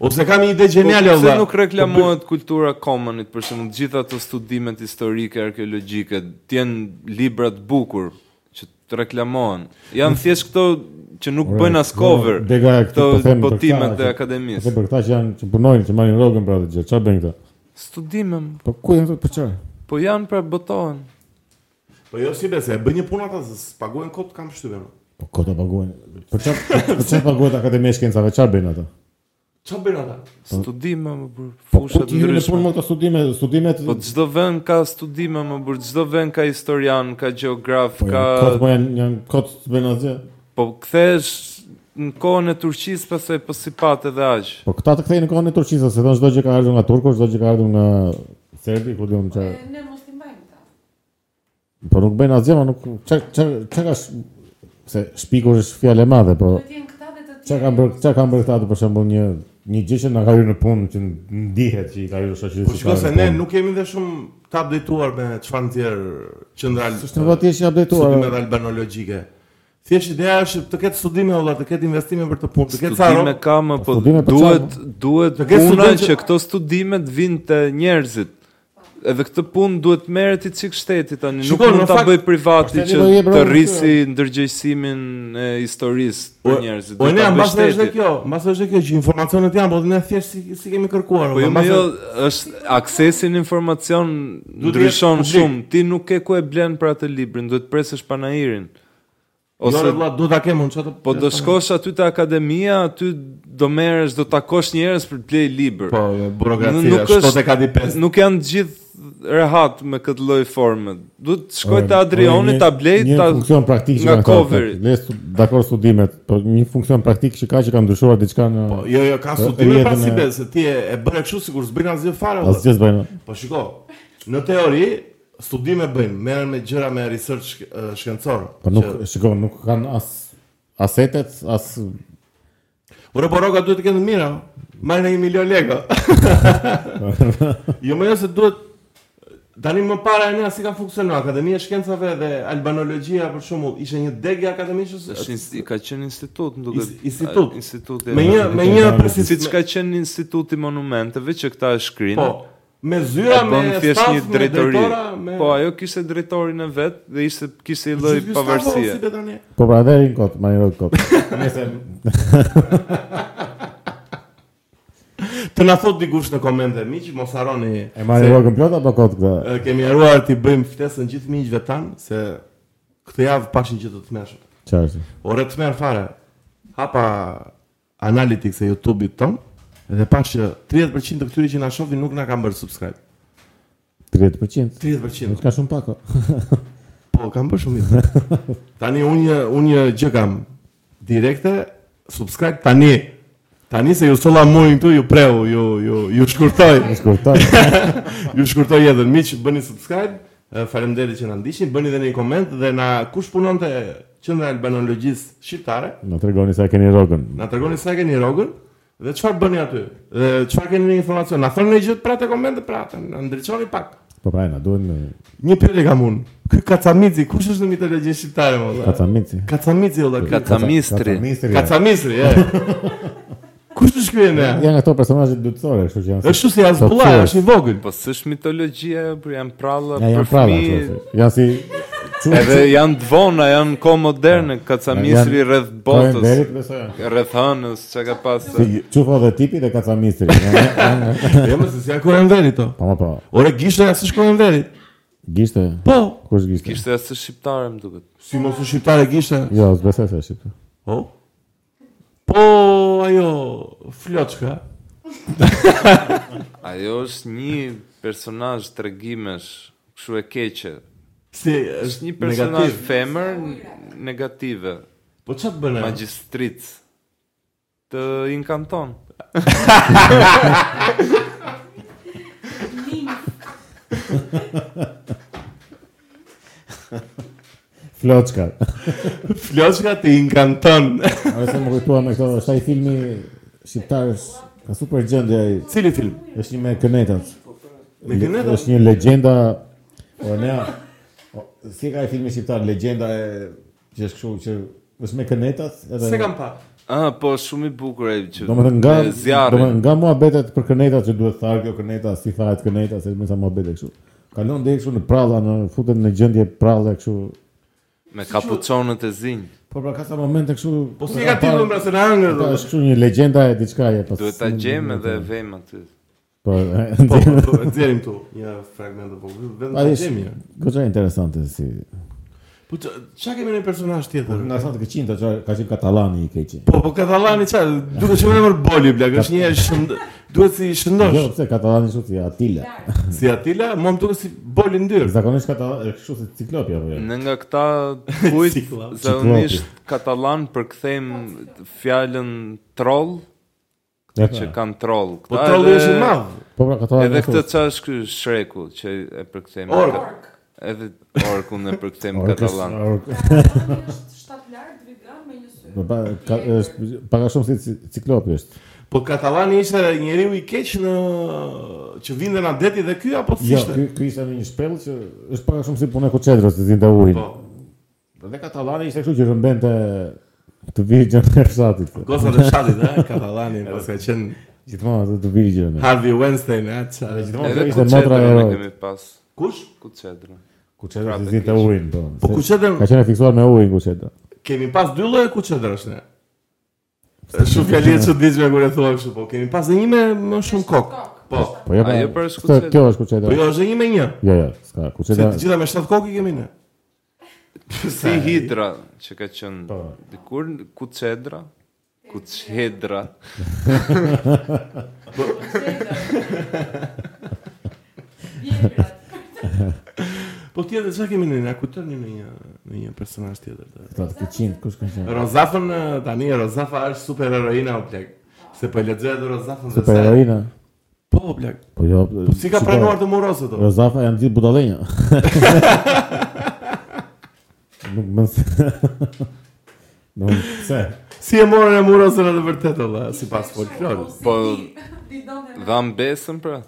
S2: Ose kam një ide
S3: Po
S2: gjeniale
S3: pse
S2: valla.
S3: nuk
S1: Po,
S3: reklamohet kultura commonit për shembull gjithë ato studimet historike arkeologjike të jenë libra të bukur që të reklamohen. Janë thjesht këto që nuk
S1: Ore,
S3: bëjnë as cover.
S1: jo, Dega e
S3: Këto
S1: këto po them për
S3: botimet
S1: këta
S3: e
S1: që- Ose
S3: akademisë.
S1: për këta që janë që punojnë, që marrin rrogën për atë gjë, çfarë bëjnë këta?
S3: Studime, m,
S1: Po ku janë këto për çfarë?
S3: po janë pra botohen.
S2: Po jo si bese, e bën një punë ata se spagojnë kot kam shtypën.
S1: Po ku ta paguajnë? Për çfarë? Për çfarë paguhet akademia e shkencave? Çfarë bëjnë ata?
S3: Po,
S2: Çfarë bën ata?
S3: Studime më bur,
S1: Po ku
S3: fusha
S1: ti hyn
S3: të
S1: në punë
S3: ndryshme.
S1: me këto studime, studimet
S3: Po çdo vend ka studime më bur, çdo vend ka historian, ka gjeograf,
S1: po
S3: ka
S1: janë kot po janë janë kot bën asgjë.
S3: po kthehesh në kohën e Turqisë pastaj po si pat edhe aq.
S1: Po këta të kthejnë në kohën e Turqisë, se thonë çdo gjë ka ardhur nga turku, çdo gjë ka ardhur nga serbi, ku diun çfarë.
S5: E, Ne mos i mbajmë ta.
S1: Po nuk bëjnë asgjë, ma nuk çfarë çfarë çfarë ka sh- se shpikur është fjalë e madhe, po
S5: Duhet jenë këta dhe të tjerë.
S1: çfarë kanë bërë, çfarë kanë bërë këta të për shembull një një gjë që na ka hyrë në punë që ndihet që i ka hyrë shoqërisë.
S2: Po shiko se ne nuk kemi dhe shumë të updateuar me çfarë nxjerr qendral.
S1: është në vati është i updateuar.
S2: Studime albanologjike. Thjesht ideja është të ketë studime valla, të ketë investime për të punë, të ketë
S3: Studime
S2: sarro.
S3: ka më po
S1: studime për
S3: duhet
S1: çfarë,
S3: duhet
S2: Të ketë
S3: puna
S2: student që-
S3: që këto studime të vinë te njerëzit. Edhe këtë punë duhet merret i cik shteti tani, nuk
S2: Shikon,
S3: mund
S2: në
S3: ta
S2: fakt,
S3: bëj privati
S1: pastaj
S3: që
S1: do jep
S3: të
S1: rrobën po.
S3: rrisi ndërgjegjësimin e historisë për njerëzit.
S2: Po
S3: duhet
S2: ne
S3: ta bëj
S2: mbas është
S3: shteti.
S2: kjo, mbas është kjo që informacionet janë, po ne thjesht si, si kemi kërkuar.
S3: Po
S2: valla,
S3: jo,
S2: mbas
S3: jo,
S2: e-
S3: është aksesi në informacion
S2: jetë
S3: ndryshon
S2: publik.
S3: shumë. Ti nuk ke ku e blen për atë librin, duhet presësh panairin
S2: Ose
S3: Ose
S2: vlla Jo, do ta kem unë çfarë.
S3: po do shkosh aty te akademia, aty do merresh, do takosh njerëz për të blej libër.
S2: Po, jo, burokracia,
S3: Nuk është-
S2: shkote ka di pesë.
S3: Nuk janë të gjithë rehat me këtë lloj forme. Duhet të
S2: Po,
S3: shkoj te Adrioni
S1: Një-
S3: ta blej
S1: një
S3: ta
S1: funksion praktik që
S3: nga
S1: kanë këta,
S3: coveri.
S1: Le stu- dakor studimet, po një funksion praktik që ka që ka ndryshuar diçka në
S2: Po, jo, jo, ka
S1: Po,
S2: studime
S1: rjetën
S2: pas si
S1: e-
S2: besë, ti e e bëre kështu sikur s'bën asgjë fare. vëlla.
S1: asgjë s'bën.
S2: Po shiko, në teori studime bëjnë, merren me gjëra me research shk- eh, shkencor.
S1: Po nuk
S2: që-
S1: shiko, nuk kanë as asetet, as
S2: Ure po roka duhet të kenë të mira. Marrë një milion lekë. jo më jo se duhet Tani më para e nea si ka funksionuar Akademia e Shkencave dhe Albanologjia për shembull ishte një degje akademisë
S3: Është insti- ka qenë institut, më duket.
S2: Is- institut.
S3: A, Instituti.
S2: me një me një
S3: siç
S2: precizitet.
S3: ka qenë Instituti i Monumenteve që këta e shkrinë.
S2: Po, me zyra
S3: e
S2: me
S3: bën thjesht
S2: staf,
S3: një
S2: me
S3: drejtori.
S2: drejtora, me
S3: Po ajo kishte drejtorin e vet dhe ishte kishte një lloj
S2: Gjithë ky stafu,
S3: pavarësie.
S2: si be tani?
S1: po pra dhe rin kot, më kot. Nëse
S2: Të na thot dikush në komente miq, mos harroni.
S1: e marrin
S2: se-
S1: rrogën plot apo kot këtë?
S2: E, Kemi haruar t'i bëjmë ftesën gjithë miqve tanë, se këtë javë pashin që të të meshëm.
S1: Çfarë? është?
S2: Ore të merë fare, hapa analytics e YouTube-it tonë, dhe pash që 30% të këtyre që na shohin nuk na kanë bërë subscribe.
S1: 30%.
S2: 30%.
S1: Nuk ka shumë pak. o.
S2: Po, kam bërë shumë mirë. Tani unë një, unë një gjë kam direkte, subscribe tani. Tani se ju solla muin këtu, ju preu, ju ju ju shkurtoj,
S1: Shkurtoj.
S2: ju shkurtoj jetën. Miq, bëni subscribe. e, Faleminderit që na ndiqni, bëni edhe një koment dhe na kush punon te Qendra e Albanologjisë Shqiptare,
S1: Na tregoni sa e keni rrogën.
S2: na tregoni sa e keni rrogën dhe çfarë bëni aty. Dhe çfarë keni në informacion? Na thoni një gjë pra te komente pra, të na ndriçoni pak.
S1: Po pra, na duhet me
S2: Një pyetje kam unë. Ky Kacamici, kush është në mitologjinë shqiptare më valla?
S1: kacamici.
S2: Kacamici valla. ky-
S3: Kacamistri.
S1: Kacamistri.
S2: Kacamisri, e. Kush të shkryen e?
S1: Janë ato personazhe dytësore, kështu që janë.
S2: Është si Azbulla,
S1: Kacamistri.
S2: është i vogël.
S3: Po s'është mitologjia, ajo, por janë pralla
S1: Ja,
S3: për
S1: janë prava.
S3: fëmijë.
S1: kështu, Janë si
S3: Edhe janë të vona, janë ko moderne, kacamistri
S1: Janë-
S3: rreth
S1: Botës.
S3: botës,
S1: besoj.
S3: rreth hënës, çka ka
S1: Si
S3: pasur.
S1: çufo dhe tipi dhe kacamistri. Janë- janë-
S2: Jo, më se si akojnë verit to.
S1: Po, po.
S2: Ore gishta ja s'shkojnë verit.
S1: Gishte.
S2: Po,
S1: Kush gishte?
S3: Kishte asë shqiptare më duket.
S2: si mos u shqiptare gishta.
S1: Jo, s'besoj se është.
S2: Po. Po, ajo floçka.
S3: Ajo është një personazh tregimesh, kështu e keqe.
S2: Si
S3: Është
S2: është
S3: një personazh
S2: negativ.
S3: femër negative,
S2: Po ç'a të bën? ajo?
S3: magjistric. Të inkanton.
S1: Floçka.
S2: Floçka ti inkanton.
S1: A se më kujtua me këto, është ai filmi shqiptarës, ka super gjendje ai.
S2: Cili film?
S1: Është një me kënetat.
S2: Me këneta?
S1: Është një legjenda. O ne. o, Si ka ai filmi shqiptar legjenda e që është kështu që është me kënetat edhe
S2: Se kam pa.
S3: Ah, po shumë i bukur ai që.
S1: Domethënë nga
S3: me zjarrin.
S1: domethënë nga muhabetet për kënetat që duhet thar kjo këneta, si thahet këneta, se më sa muhabete kështu. Kalon deri kështu në pralla, në futen në gjendje pralle kështu.
S3: me kapuçonët e zinj.
S1: Po pra ka sa momente kështu.
S2: Po si ka titullin pra se na hëngër.
S1: Po është kështu një legjenda e diçkaje, po.
S3: Duhet ta gjejmë edhe e vejmë aty.
S1: Po.
S2: Po, po, e nxjerrim tu një fragment po, apo vetëm
S1: Ai
S2: ta jo.
S1: është
S2: gjejmë. ja.
S1: goxha interesante si.
S2: Po ç- ç'a kemi në personazh tjetër?
S1: Nga sa të këqinta që ka qenë katalani i keqi.
S2: Po, po Katalani qa, duke që më nëmër boli, blak, është një e shënd... Duhet si shëndosh,
S1: Jo, pse katalani kështu si Atila.
S2: si Atila, mua më duke si boli ndyrë.
S1: Zakonisht katalani kështu si ciklopi apo jo.
S3: Në nga këta kujt
S2: Ciklopi.
S3: zakonisht katalan përkthejmë fjalën troll
S1: Ja,
S3: që kanë troll.
S2: Po
S3: Këta
S2: trolli
S3: edhe-
S2: është i madh.
S1: Po pra katalani.
S3: Edhe këtë
S1: kështu.
S3: çfarë është ky shreku që e përkthejmë.
S2: Ork.
S3: kat- Edhe orkun e përkthejmë
S1: Orkës-
S3: katalan.
S1: ork-
S5: Shtat lart, vegan me një sy.
S1: Po pa, ka, është pak a shumë si ci- ciklopi është.
S2: Po Katalani ishte njeriu i keq në... që vinde në deti dhe ky, apo
S1: Jo,
S2: s'ishte?
S1: ky ky ishte në një shpellë që është pak a shumë si puna e kuçedrës që zinte ujin.
S2: Po,
S1: Dhe katalani ishte kështu që rëmbente të virgjën e fshatit.
S2: gozat e shatit, e, Katalani, pas ka po, qenë
S1: Gjithmonë ato të virgjën.
S2: Harvey Weinstein, e, qa.
S1: Gjithmonë
S3: Edhe
S1: kjo
S3: ku
S1: ishte motra e
S3: ne
S1: rojt.
S3: kemi pas.
S2: Kush?
S3: Ku çedrën?
S1: Kuçedra
S3: Prapë
S1: se zinte
S3: keq.
S1: ujin, po.
S2: Po
S1: Se-
S2: kuçedrën-
S1: Ka qenë fiksuar me ujin kuçedra.
S2: Kemi pas dy lloje kuçedrash ne. Shumë fjalë të çuditshme kur e thua kështu, po kemi pas dhe një me më shumë kokë. Po, jo,
S1: Po jo.
S3: Ajo
S1: pra,
S3: për është
S1: këtë-
S3: kuçedra.
S1: Kjo është kuçedra.
S2: po jo, është dhe një me një.
S1: Jo, jo, s'ka.
S2: Se
S1: Kuçedra.
S2: të gjitha me 7 kokë i kemi ne.
S3: si hidra që ka qenë
S1: Po.
S3: dikur kucedra, kucedra.
S2: Po tjetër çka kemi ne, na kujtoni në një në një personazh tjetër të.
S1: Pra të qinë, kush ka qenë?
S2: Rozafën eh, tani Rozafa është super heroina o plak. Se po e lexoj edhe Rozafën se
S1: Super heroina.
S2: Po o plak.
S1: Po jo,
S2: Po si ka
S1: shiko,
S2: pranuar të murosë ato?
S1: Rozafa janë gjithë budallenja. Nuk më se... Nuk se...
S2: Si e morën e murosën atë vërtet olla, sipas folklorit.
S3: Po
S5: Didone
S3: dham besën pra.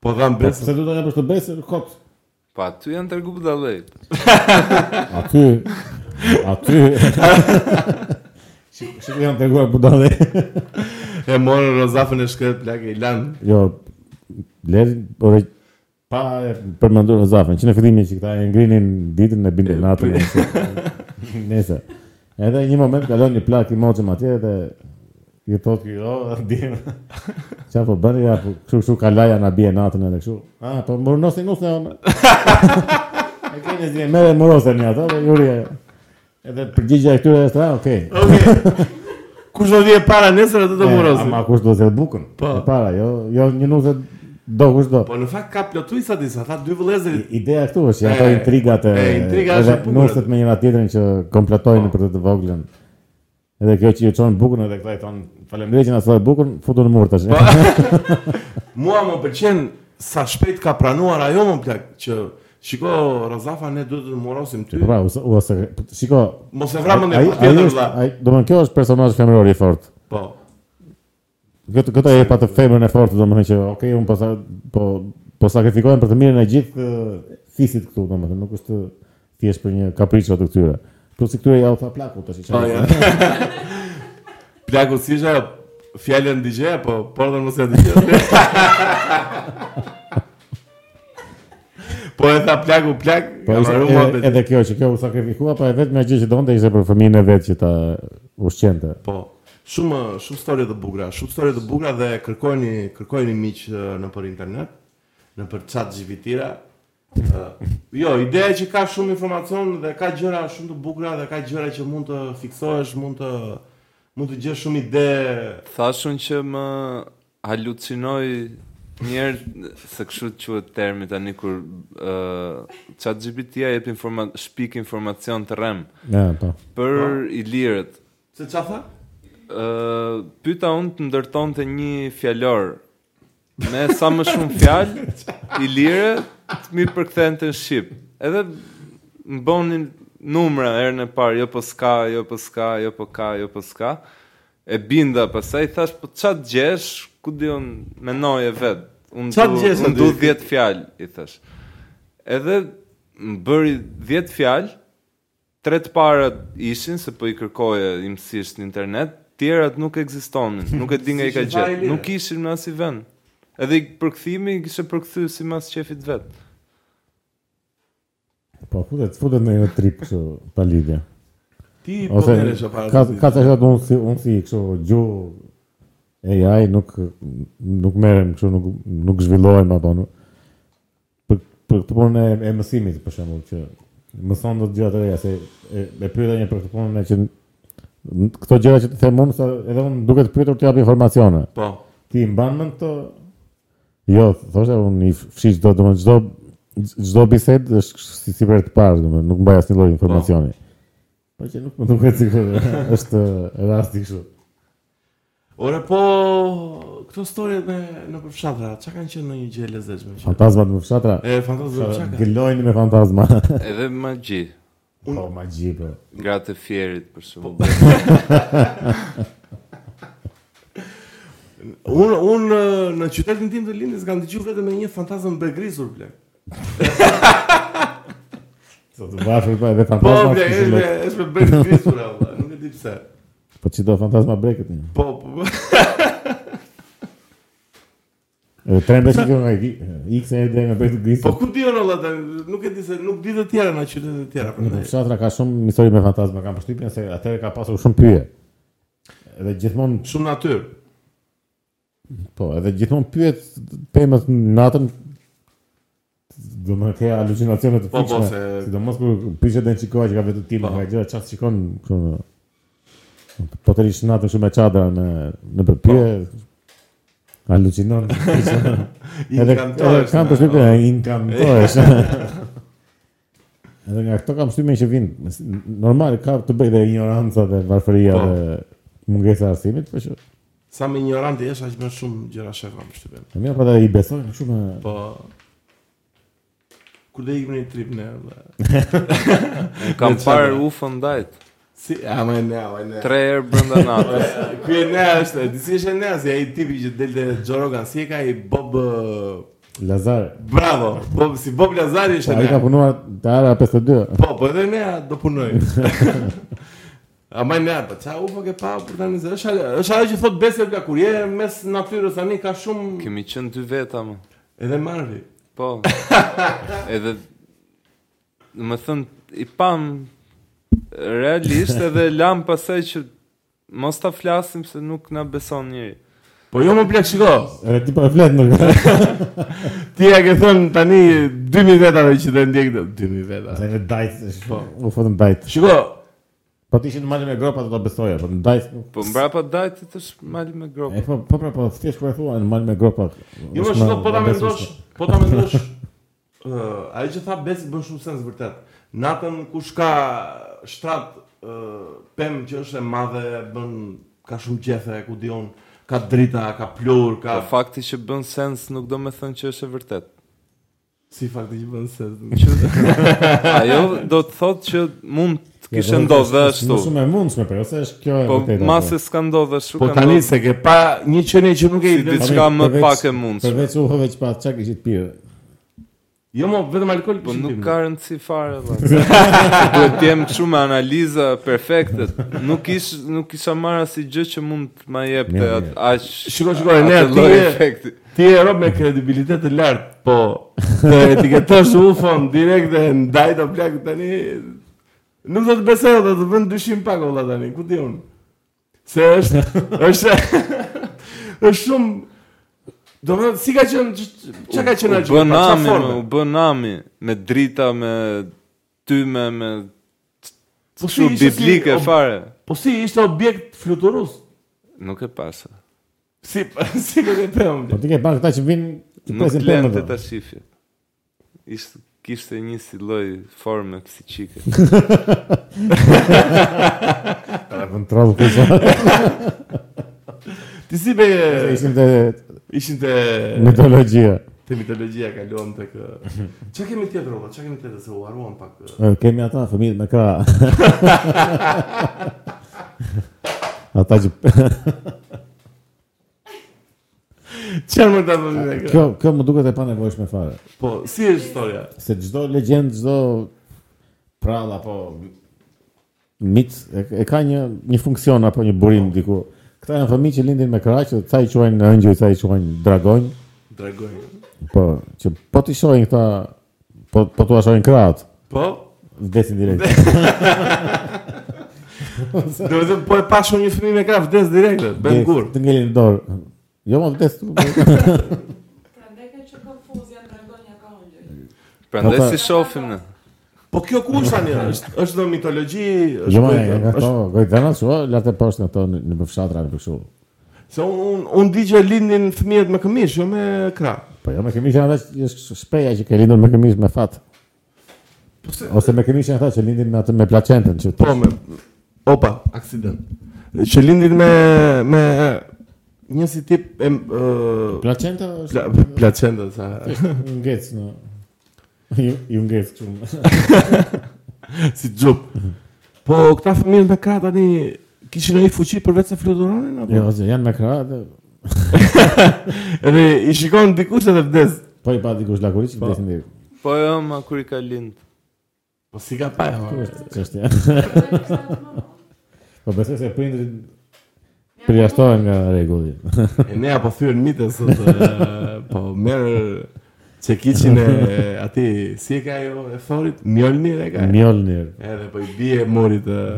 S2: Po dham
S1: Po
S2: besë.
S1: pse du të kapësh të besë, kot.
S3: Pa aty janë tërgu budallëjt.
S1: Aty... Aty... Shik- Shikë janë të guar budale.
S2: E morën Rozafën e shkret plak e lan.
S1: Jo, leri, ore, pa e përmendur Rozafën, që në fillimin që këta e ngrinin ditën e bindën natën. e kështu. Nese. Edhe një moment kalon një plak i moqëm atje dhe i thot ky, "O, ndjen." Çfarë po bën ja, po kështu kështu kalaja na bie natën edhe kështu. Ah, po mornosi nusë ona. E keni zi merë morosën ja, ato, dhe juri. e- Edhe përgjigjja e këtyre është, "Ah, okay."
S2: Okej. Kush do vje para nesër atë të
S1: E,
S2: murosë?
S1: Ama kush do të bukën?
S2: Po.
S1: E para, jo, jo një nuse do kush do.
S2: Po në fakt ka plotuj sa disa, tha dy vëllezërit.
S1: I- Ideja këtu është janë ato
S2: E,
S1: intrigat e,
S2: e, intriga është
S1: edhe
S2: e bukur. Po.
S1: nuset me njëra tjetrën që kompletojnë për të të voglën. Edhe kjo që ju çon bukën edhe këta i thon faleminderit që na thoi bukën, futu në mur tash.
S2: Po. Mua më pëlqen sa shpejt ka pranuar ajo më plak që shiko Rozafa ne duhet të morosim ty.
S1: Pra, ose, ose shiko,
S2: Mos e vra mendje
S1: ai
S2: pa
S1: ai
S2: Pra tjetër
S1: është,
S2: vlla.
S1: ai, domethënë kjo është personazh femëror i fortë.
S2: Po.
S1: Këtë këtë e pa të femrën e fortë, domethënë që okay, un po sa- po po sakrifikohen për të mirën e gjithë ë, fisit këtu, domethënë nuk është thjesht për një kapriço të këtyre. Plus i këtyre ja u tha plaku tash i
S2: Po
S1: çaj.
S2: ja. Plaku si është ajo? Fjallën DJ apo portën mos e DJ? po e tha plaku plak,
S1: Po
S2: ka
S1: ishte
S2: marrë
S1: edhe,
S2: mua
S1: edhe kjo që kjo u sakrifikua, po e vetëm gjë që donte ishte për fëmijën e vet që ta ushqente.
S2: Po. Shumë shumë histori të bukura, shumë histori të bukura dhe kërkojeni kërkojeni miq eh, në për internet, në për chat GPT-ra. jo, ideja që ka shumë informacion dhe ka gjëra shumë të bukura dhe ka gjëra që mund të fiksohesh, mund të mund të gjesh shumë ide.
S3: Thashun që më halucinoj njerë, se kështu quhet termi tani kur uh, ChatGPT-ja jep informa shpik informacion të rrem
S1: Ja, po.
S3: për ilirët.
S2: Se çfarë tha?
S3: Uh, pyta unë të ndërton të një fjallor me sa më shumë fjallë i lire të mi përkthen të në Shqip edhe më bonin numra herën e parë jo po s'ka, jo po s'ka, jo po ka, jo po s'ka e binda pasaj thash po qatë gjesh ku di unë menoj e vetë unë
S2: Qa të
S3: du-
S2: gjesh,
S3: unë du
S2: aty?
S3: 10 fjallë i thash edhe më bëri 10 fjallë tre të parat ishin se po i kërkoja imësisht në internet, tjerat nuk ekzistonin, nuk e di nga i ka
S2: Ishin fare
S3: gjetë,
S2: lirë.
S3: nuk ishin në asnjë vend. Edhe i përkthimi i kishte përkthy sipas qefit vet.
S1: Po futet, futet në një trip kështu pa lidhje.
S2: Ti po
S1: Ose
S2: merresh para.
S1: ka
S2: të-
S1: ka të thotë unë si unë si kështu gju AI nuk nuk merrem kështu nuk nuk zhvillohem apo nuk për për këtë punën e, e mësimit për shembull që mëson dot gjëra të reja se e, e pyeta një për këtë punën e që n- këto gjëra që të them unë sa edhe unë duket pyetur të jap informacione.
S2: Po.
S1: Ti i mban mend këto? Jo, thoshte unë i fshi çdo domethënë çdo çdo bisedë është kështu si si për të parë, domethënë nuk mbaj asnjë lloj informacioni. Po që nuk më duket sikur është rasti kështu.
S2: Ore po këto story me në përfshatra, çka kanë qenë në një gjë e lezetshme? që-
S1: Fantazmat në fshatra
S2: E fantazme çka kanë?
S1: gëlojnë me fantazma.
S3: Edhe magji,
S1: Po magji po.
S3: gratë e fjerit për shembull.
S2: Unë un, në qytetin tim të lindjes kam dëgjuar vetëm me një fantazëm begrisur plak.
S1: Sot u bashkë po edhe
S2: Po,
S1: fantazma.
S2: plak, është me është me begrisur apo, nuk e di pse.
S1: Po që do fantazma breket një.
S2: Po, po.
S1: Edhe trembe që kjo nga i- X e dhe nga breket
S2: Po
S1: grisë.
S2: ku diun olla tani, nuk e di se nuk di të tjera në qytete të tjera
S1: Në
S2: prandaj.
S1: fshatra ka shumë histori me fantazma, kam përshtypjen se atëherë ka pasur shumë pyje. Edhe gjithmonë
S2: Shumë natyrë.
S1: Po, edhe gjithmonë pyet pemët natën do më ke alucinacione të
S2: Po, po,
S1: fuqishme.
S2: se-
S1: Sidomos kur prishet në Çikoa që ka vetë tim,
S2: Po.
S1: ka gjëra çast shikon kë po të rish natën shumë me çadra në në përpje.
S2: Po.
S1: Alucinon. Edhe edhe kam përshtypjen e inkantohesh. Edhe nga këto kam përshtypjen që vinë s- normal ka të bëjë dhe ignoranca dhe varfëria
S2: Po.
S1: dhe mungesa e arsimit, po që
S2: Sa më ignorant e jesh, aq më shumë gjëra shekon, shtypen.
S1: e mira pastaj i besojnë shumë
S2: Po... Kur do ikim në një trip ne, vëlla.
S3: Unë kam
S2: Me
S3: parë
S2: çfarë?
S3: UFO ndajt.
S2: Si, a më ne, a më ne.
S3: Tre herë brenda natës.
S2: Ky e ne është, e di si është e ne, si ai tipi që del te Joe Rogan, si e ka i Bob eh,
S1: Lazar.
S2: Bravo, Bob, si Bob Lazari
S1: Po,
S2: është e
S1: Ai
S2: ne.
S1: ka punuar te ara 52.
S2: Po, po edhe ne do punoj. A më ne, po ça u po ke pa për tani, se është ajo- është ajo që thot Besel ka kur je mes natyrës tani ka shumë
S3: Kemi qenë dy veta më.
S2: edhe marvi.
S3: Po. Edhe do të thënë i pam realisht edhe lam pasaj që mos ta flasim se nuk na beson njëri.
S2: Po jo më plak shiko.
S1: Edhe ti po e flet më.
S2: Ti ja ke thënë tani 2000 vetave që të ndjek këtë 2000 veta.
S1: Ai në dajt.
S2: Po.
S1: U fotën dajt.
S2: Shiko,
S1: Po ti ishin në malin me gropa do ta besoja, po në dajt. nuk-
S3: Po mbrapa dajtit është mal me
S1: E
S3: gropë.
S1: po po pra, po thjesht kur e thua në malin me gropa.
S2: jo më
S1: është
S2: shiko
S1: ma-
S2: po ta
S1: ma
S2: mendosh,
S1: besueshme.
S2: po ta mendosh. Ë, ajo që tha Besi bën shumë sens vërtet. Natën kush ka shtrat ë pem që është e madhe bën ka shumë gjethe, ku diun, ka drita, ka plur,
S3: Po
S2: ka
S3: fakti që bën sens nuk do me thënë që është e vërtet.
S2: si fakti që bën sens.
S3: Që ajo do të thotë që mund të
S1: Ja,
S3: kishte
S1: po,
S3: ndodhë
S1: është-
S3: ashtu.
S1: është Shumë e mundshme, po ose është kjo e
S3: Po
S1: vërteta,
S3: ma se s'ka ndodhë ashtu
S2: Po
S3: ka
S2: tani
S3: ndodhë.
S2: se ke pa një qenie që nuk e
S3: Si
S2: i
S1: Po,
S3: diçka-
S2: di.
S3: s'ka më
S1: përveç-
S3: pak e mundshme.
S1: Përveç u hëve që pa çka kishit pirë.
S2: Jo më vetëm alkool.
S3: Po
S2: kishin
S3: nuk
S2: pirë.
S3: ka rëndësi fare valla. Duhet të jem kështu me analiza perfekte. Nuk ish nuk kisha marrë asnjë gjë që mund të ma jepte
S1: Mirë,
S3: atë aq.
S2: Shiko, shiko, ne
S3: atë
S2: aty
S3: lloj
S2: je-
S3: efekti.
S2: Ti e rob me kredibilitet të lartë, po të etiketosh UFO-n direkt e ndaj të plak tani nuk do të besoj, do të vën dyshim pak olla tani, ku di unë. Se është është është shumë do të thotë si ka qenë ç- çka ka qenë
S3: U
S2: ajo?
S3: bën
S2: pa çfarë
S3: nami,
S2: forme?
S3: më, u bën nami me drita, me tyme, me
S2: Po si
S3: kështu
S2: ishte si-
S3: biblike
S2: ob-
S3: fare.
S2: Po si ishte objekt fluturus?
S3: Nuk e pasa.
S2: Si si do të them?
S1: Po ti ke parë këta që vinë të
S3: Nuk
S1: presin
S3: lente
S1: pemën.
S3: ta shifje. Ishte kishte një si lloj forme psiqike.
S1: Ta vën troll këtu.
S2: Ti si be
S1: Ishin te
S2: ishin te
S1: mitologjia.
S2: te mitologjia kaluam tek ë, çka kemi tjetër olla? Çka kemi tjetër se u haruam pak. ë.
S1: E, Kemi ata fëmijët me krah. Ata që
S2: Çfarë më ta bëni ne kjo?
S1: kjo kjo më duket e panevojshme fare.
S2: Po, si është historia?
S1: se çdo legjend, çdo prall apo mit e, e ka një një funksion apo një burim diku. Këta janë fëmijë që lindin me krah, që ca i quajnë ëngjëj, ca i quajnë dragonj,
S2: Dragoj.
S1: po që po ti shohin këta po po tu shohin krahut,
S2: Po,
S1: vdesin direkt.
S2: do të thënë po e pashu një fëmijë me krah vdes direkt, bën
S1: Vdes,
S2: kur.
S1: Të ngelin në dorë. Jo, më vdes. tu, po.
S5: Prandaj ka që konfuzja të regonja ka unë.
S3: Prandaj
S1: Ata-
S3: si shohim ne.
S2: Po kjo ku është tani? Është është në mitologji,
S1: Jo,
S2: është
S1: më
S2: kujtë,
S1: nga
S2: është
S1: këto, gojdana, shua, lartë e poshtë në to në në përfshatra në përshurë.
S2: se un un, un di që lindin fëmijët me këmish, jo me krah.
S1: Po jo me këmish janë ata që është shpeja që ke lindur me këmish me fat. Ose me këmish janë ata që lindin me atë me placentën që
S2: Po me Opa, aksident. Që lindin me me një si tip e ë
S1: placenta
S2: pla,
S1: është
S2: placenta sa.
S1: një ngec në ju ju ngec kështu.
S2: si xhup. Po këta fëmijë me krah tani kishin një fuqi përveç se fluturonin apo?
S1: Jo, ose janë me krah dhe
S2: Edhe i shikon dikush edhe vdes.
S1: po i pa dikush lakuriç që vdesin direkt.
S3: Po jo, ma kur i ka lind.
S2: Po si ka pa e
S1: Kjo
S2: hore?
S1: është çështja. Po besoj se prindrit përjashtohen nga rregulli.
S2: E ne apo thyrën mitën sot, e, po merë çekiçin e ati, si e ka jo e thorit? Mjolnir e ka e?
S1: Mjolnir.
S2: Edhe po i bie morit e...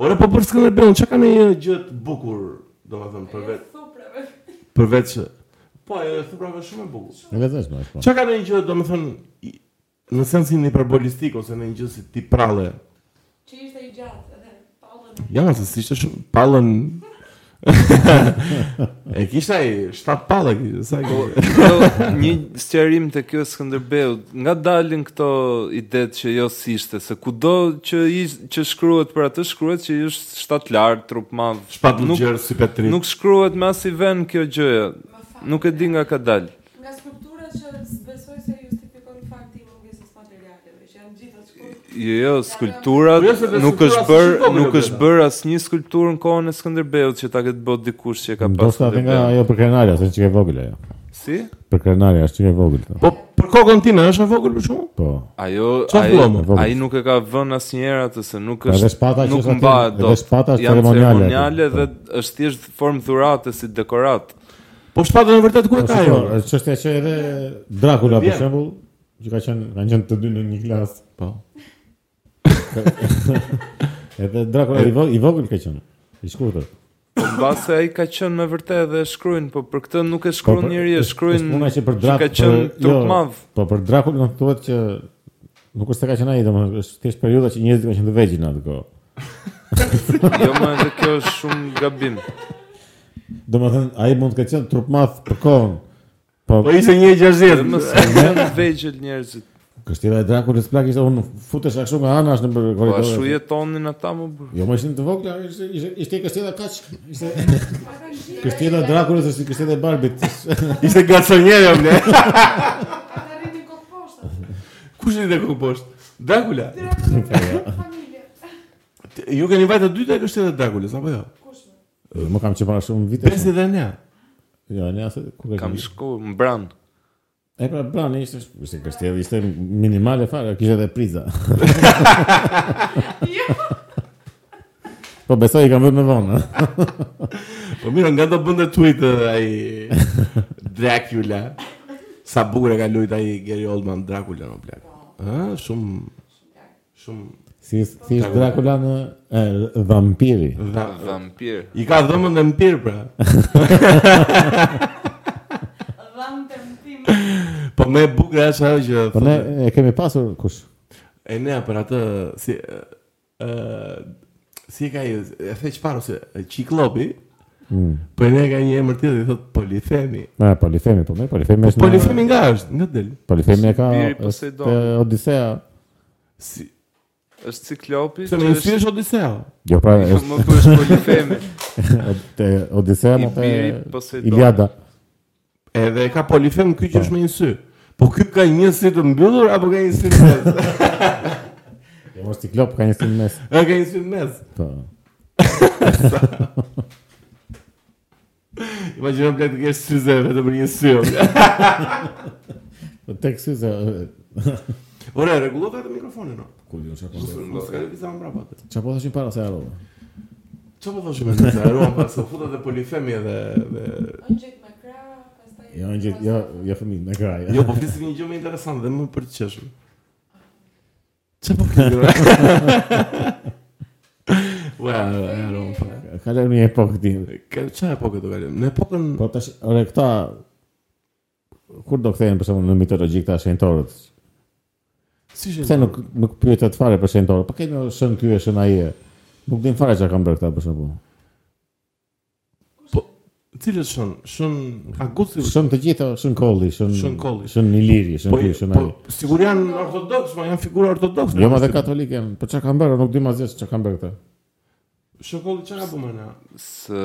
S2: Ore po për Skënderbeun, çka ka në një gjë të bukur, domethënë përveç
S5: Supreve.
S2: përveç Po, e thuprave shumë e bukur.
S1: Në vezëshme është po.
S2: Çka ka ndonjë gjë, domethënë i- në sensin hiperbolistik ose në një gjë si ti pralle.
S5: Që ishte i gjatë edhe pallën e
S2: Ja, se si ishte shumë pallën e kisha ai 7 pallë, ki- sa i
S3: Po, jo, një sqarim të kjo Skënderbeu, nga dalin këto idet që jo si ishte, se kudo që ish, që shkruhet për atë shkruhet që është shtat lart, trup madh.
S2: shpat
S3: Nuk-
S2: lugjer si petrin.
S3: Nuk shkruhet me as i ven kjo gjëja.
S5: më fal.
S3: Nuk e di nga ka dal.
S5: Nga skulptura që besoj se justifikon fakti i mungesës materialeve, që janë gjitha të shkurt.
S3: Jo, jo, skulptura
S2: Po, jo, se dhe
S3: nuk
S2: skulptura
S3: është
S2: s'është
S3: bër,
S2: vogël,
S3: nuk
S2: o
S3: është
S2: Bela.
S3: bër asnjë skulpturë në kohën e Skënderbeut që ta ketë bërë dikush që e ka pas.
S1: Ndoshta edhe nga
S3: Skënderbeun.
S1: ajo për krenarja, se çike e vogël ajo.
S3: Si?
S1: Për krenarja është çike e vogël. po.
S2: Po për kokën time është e vogël për shkakun.
S1: Po.
S3: Ajo
S2: Qa
S3: ai
S2: vëllai,
S1: vëllai?
S3: ai nuk e ka vënë asnjëherë atë se nuk
S1: Pa,
S3: është
S1: edhe shpata që
S3: nuk
S1: është aty,
S3: mbahet
S1: edhe
S3: dot.
S1: shpata është
S3: Janë
S1: ceremoniale aty. Po.
S3: ceremoniale dhe është thjesht formë dhurate si dekorat.
S2: Po shpatën e vërtet ku e
S1: Po
S2: ka
S3: jo.
S1: shiko,
S2: ajo?
S1: është çështja që edhe Dracula për
S2: Vjen.
S1: shembull, që ka qenë kanë qenë të dy në një klasë.
S2: Po.
S1: Edhe Dracula i vogël i vogël ka qenë. I shkurtër.
S3: Po mbase ai ka qenë me vërtet dhe e shkruajnë, po për këtë nuk e shkruan
S1: për-
S3: njëri, e
S1: është-
S3: shkruajnë
S1: është puna që për drak-
S3: ka qenë
S1: për-
S3: trup
S1: jo.
S3: madh.
S1: Po për Dracula do të thuhet që nuk është se ka qenë ai, domethënë është thjesht periudha që njerëzit kanë qenë të vegjël në atë kohë.
S3: Jo më edhe kjo është shumë gabim.
S1: Domethënë ai mund të ketë qenë trup madh për kohën. Po
S2: Po ishte një
S3: Dhe më
S2: 60.
S3: se janë vegjël njerëzit.
S1: kështjera e Draculës plak ishte unë futesh ashtu nga ana është në
S3: Po ashtu
S1: korridor.
S3: jetonin ata më burr.
S1: Jo, më ishin të vogla, ishte ishte- ishte kështjera kaq. Ishte
S5: Pa kanë gjithë.
S1: kështjera e Draculës është si kështjera e Barbit.
S2: Ishte garsonjera ble.
S5: Ata rritin kokë poshtë.
S2: Kush i dhe ku poshtë? Dracula.
S5: Tyra të familje.
S2: T- Ju keni vajtë të dyta e kështë edhe Draculës, apo jo?
S5: Kush më?
S1: Më kam që para shumë vite.
S2: 59.
S1: Jo, ne asë ku
S2: Mhm.
S1: ka
S3: Kam
S1: qenë?
S3: shkuar në Bran.
S1: E pra brani ishte ishte kështjera, ishte minimale fare, kishte edhe priza.
S5: Jo.
S1: Po besoj i kam vënë më vonë. ha?
S2: Po mirë, nga do bënde tweet e, ai Dracula. Sa bukur e ka lujt ai Gary Oldman Dracula në plak. Ë, shumë shumë
S1: Si si ishte Dracula në e, vampiri.
S2: dha,
S3: Vampir.
S2: I ka dhëmën dhe mpir pra.
S5: Dham të mtim.
S2: Po më e bukur është ajo që
S1: Po ne e kemi pasur kush?
S2: e ne për atë si ë ë, si e ka ai e the çfarë ose Ciklopi.
S1: Hmm.
S2: Po e ne ka një emër tjetër i thot Polifemi.
S1: Na Polifemi, po me Polifemi është. në-
S2: Polifemi nga është, nga del.
S1: Polifemi e ka
S3: Shpiri
S1: është
S3: Poseidon.
S1: e, Odisea.
S2: Si,
S3: Është ciklopi.
S2: se
S3: që
S2: më
S3: është-
S2: nësirë është Odiseo.
S1: Jo pra është
S3: Më për është polifemi.
S1: te Odisea më te
S3: Ibiri Poseidon.
S1: Iliada.
S2: Edhe ka polifem ky që është me një sy. Po ky ka një sy të mbyllur apo ka një sy në mes?
S1: Jo mos ciklop ka një sim mes.
S2: A ka një sy në mes?
S1: Po.
S2: Imagjino blek të kesh syze vetëm për një sy. o.
S1: Po tek syze e,
S2: Ore, rregullo vetë mikrofonin. o.
S1: ku diun çfarë po.
S2: Mos mos ka lëvizë më brapa.
S1: Çfarë po thoshin para se harrova.
S2: Ço po thoshim me të zaruan pas u futet dhe polifemi edhe dhe
S5: Ongjit me krah, pastaj.
S1: Jo ngjit, jo jo fëmijë me kraj.
S2: jo po flisim një gjë më interesante dhe më për të qeshur. Ço po flisim? Ua, e po. rrom pa.
S1: Ka lënë një epokë tjetër.
S2: Ka çfarë epokë do kalojmë? Në epokën
S1: Po tash ore këta kur do kthehen për shembull në mitologji këta shenjtorët?
S2: si ishin?
S1: Pse nuk nuk pyetet fare për shenjtorët? Po kemi shën ky e shën ai. e. Nuk din fare çka kanë bërë këta për shembull.
S2: Cilët shën? Shën Agusti
S1: Shën të gjitha, shën kolli, shën
S2: Shën kolli.
S1: shën iliri, shën
S2: Po,
S1: ky, shën ai.
S2: po sigur janë ortodoks, ma janë figura ortodokse.
S1: Jo, ma dhe katolik janë, po çka kanë bërë, nuk di më asgjë çka kanë bërë këta.
S2: Shokolli çka po më na?
S3: Së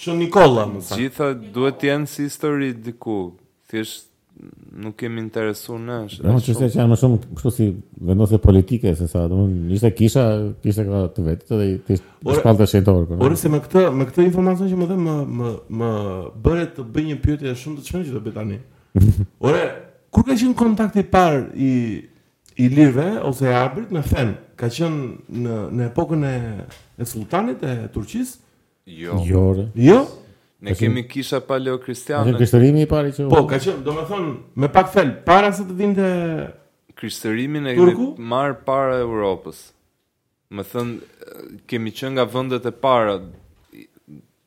S2: Shën Nikolla më sa.
S3: Gjitha duhet të jenë si histori diku. Thjesht nuk kemi interesu në është.
S1: Do të thotë që janë më shumë kështu si vendosje politike se sa, domethënë ishte kisha, kisha ka të vetë dhe i- ti
S2: Ore-
S1: shpallta shenjtor. po,
S2: Ore se me këtë me këtë informacion që më dhe më më më bëre të bëj një pyetje shumë të çmendur që do bëj tani. Ore, kur ka qenë kontakti i parë i i lirëve ose e arbrit me fen? Ka qenë në në epokën e e sultanit e Turqisë?
S3: Jo.
S1: Jo, ore.
S2: Jo?
S3: Ne kemi kisha
S1: Është
S3: paleokristiane.
S1: kështërimi i pari që
S2: Po, ka qenë, domethënë, me pak fel, para se të vinte
S3: Krishtërimin e
S2: Turku?
S3: kemi marr para Europës. Më thënë, kemi qenë nga vendet e para.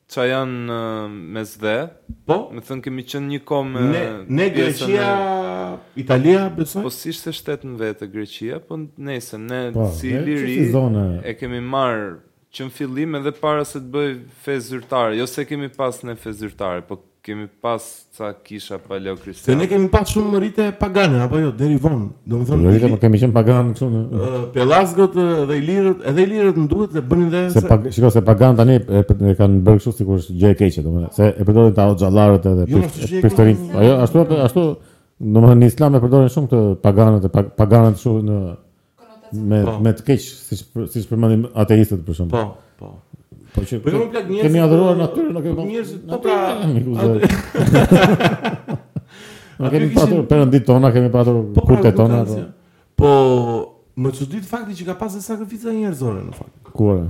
S3: qa janë ë, mes dhe,
S2: Po,
S3: me thënë kemi qenë një kohë me...
S2: ne, ne
S3: pjesën
S2: Greqia,
S3: e-
S2: Italia, besoj?
S3: Po si ishte shtetë në vetë Greqia, po nëse ne
S1: Po,
S3: si
S1: ne-
S3: liri
S1: si zone-
S3: e kemi marë që në fillim edhe para se të bëj fe zyrtare, jo se kemi pas ne fe zyrtare, po kemi pas ca kisha paleo
S2: Se ne
S3: kristiane.
S2: kemi pas shumë rite pagane, apo jo, deri vonë. Do më
S1: Jo,
S2: thënë,
S1: vetëm kemi qenë pagan kështu. në-
S2: ë, Pelazgët ë, dhe Ilirët, edhe Ilirët më duhet dhe bënin dhe
S1: Se pag, shiko se pagan tani e, e kanë bërë kështu sikur është gjë e keqe, domethënë, se e përdorin ta xhallarët edhe
S2: Jo, është gjë e
S1: piftorin.
S2: keqe.
S1: Ajo ashtu ashtu domethënë në islam e përdorin shumë të paganët e pag- paganët kështu në me
S2: Po.
S1: me të keq siç për- siç përmendim ateistët për shemb.
S2: Po, po.
S1: Po që
S2: Po jo më plak njerëzit.
S1: kemi adhuruar natyrën, nuk e
S2: po. Njerëzit, po pra,
S1: natyrën, miku zot. Ne
S2: aty
S1: kemi
S2: kishin-
S1: patur perëndit tona, kemi patur
S2: po, pra,
S1: kurtet tona,
S2: ignorancia. Po, më çudit fakti që ka pasë sakrifica njerëzore në fakt.
S1: po, kuara.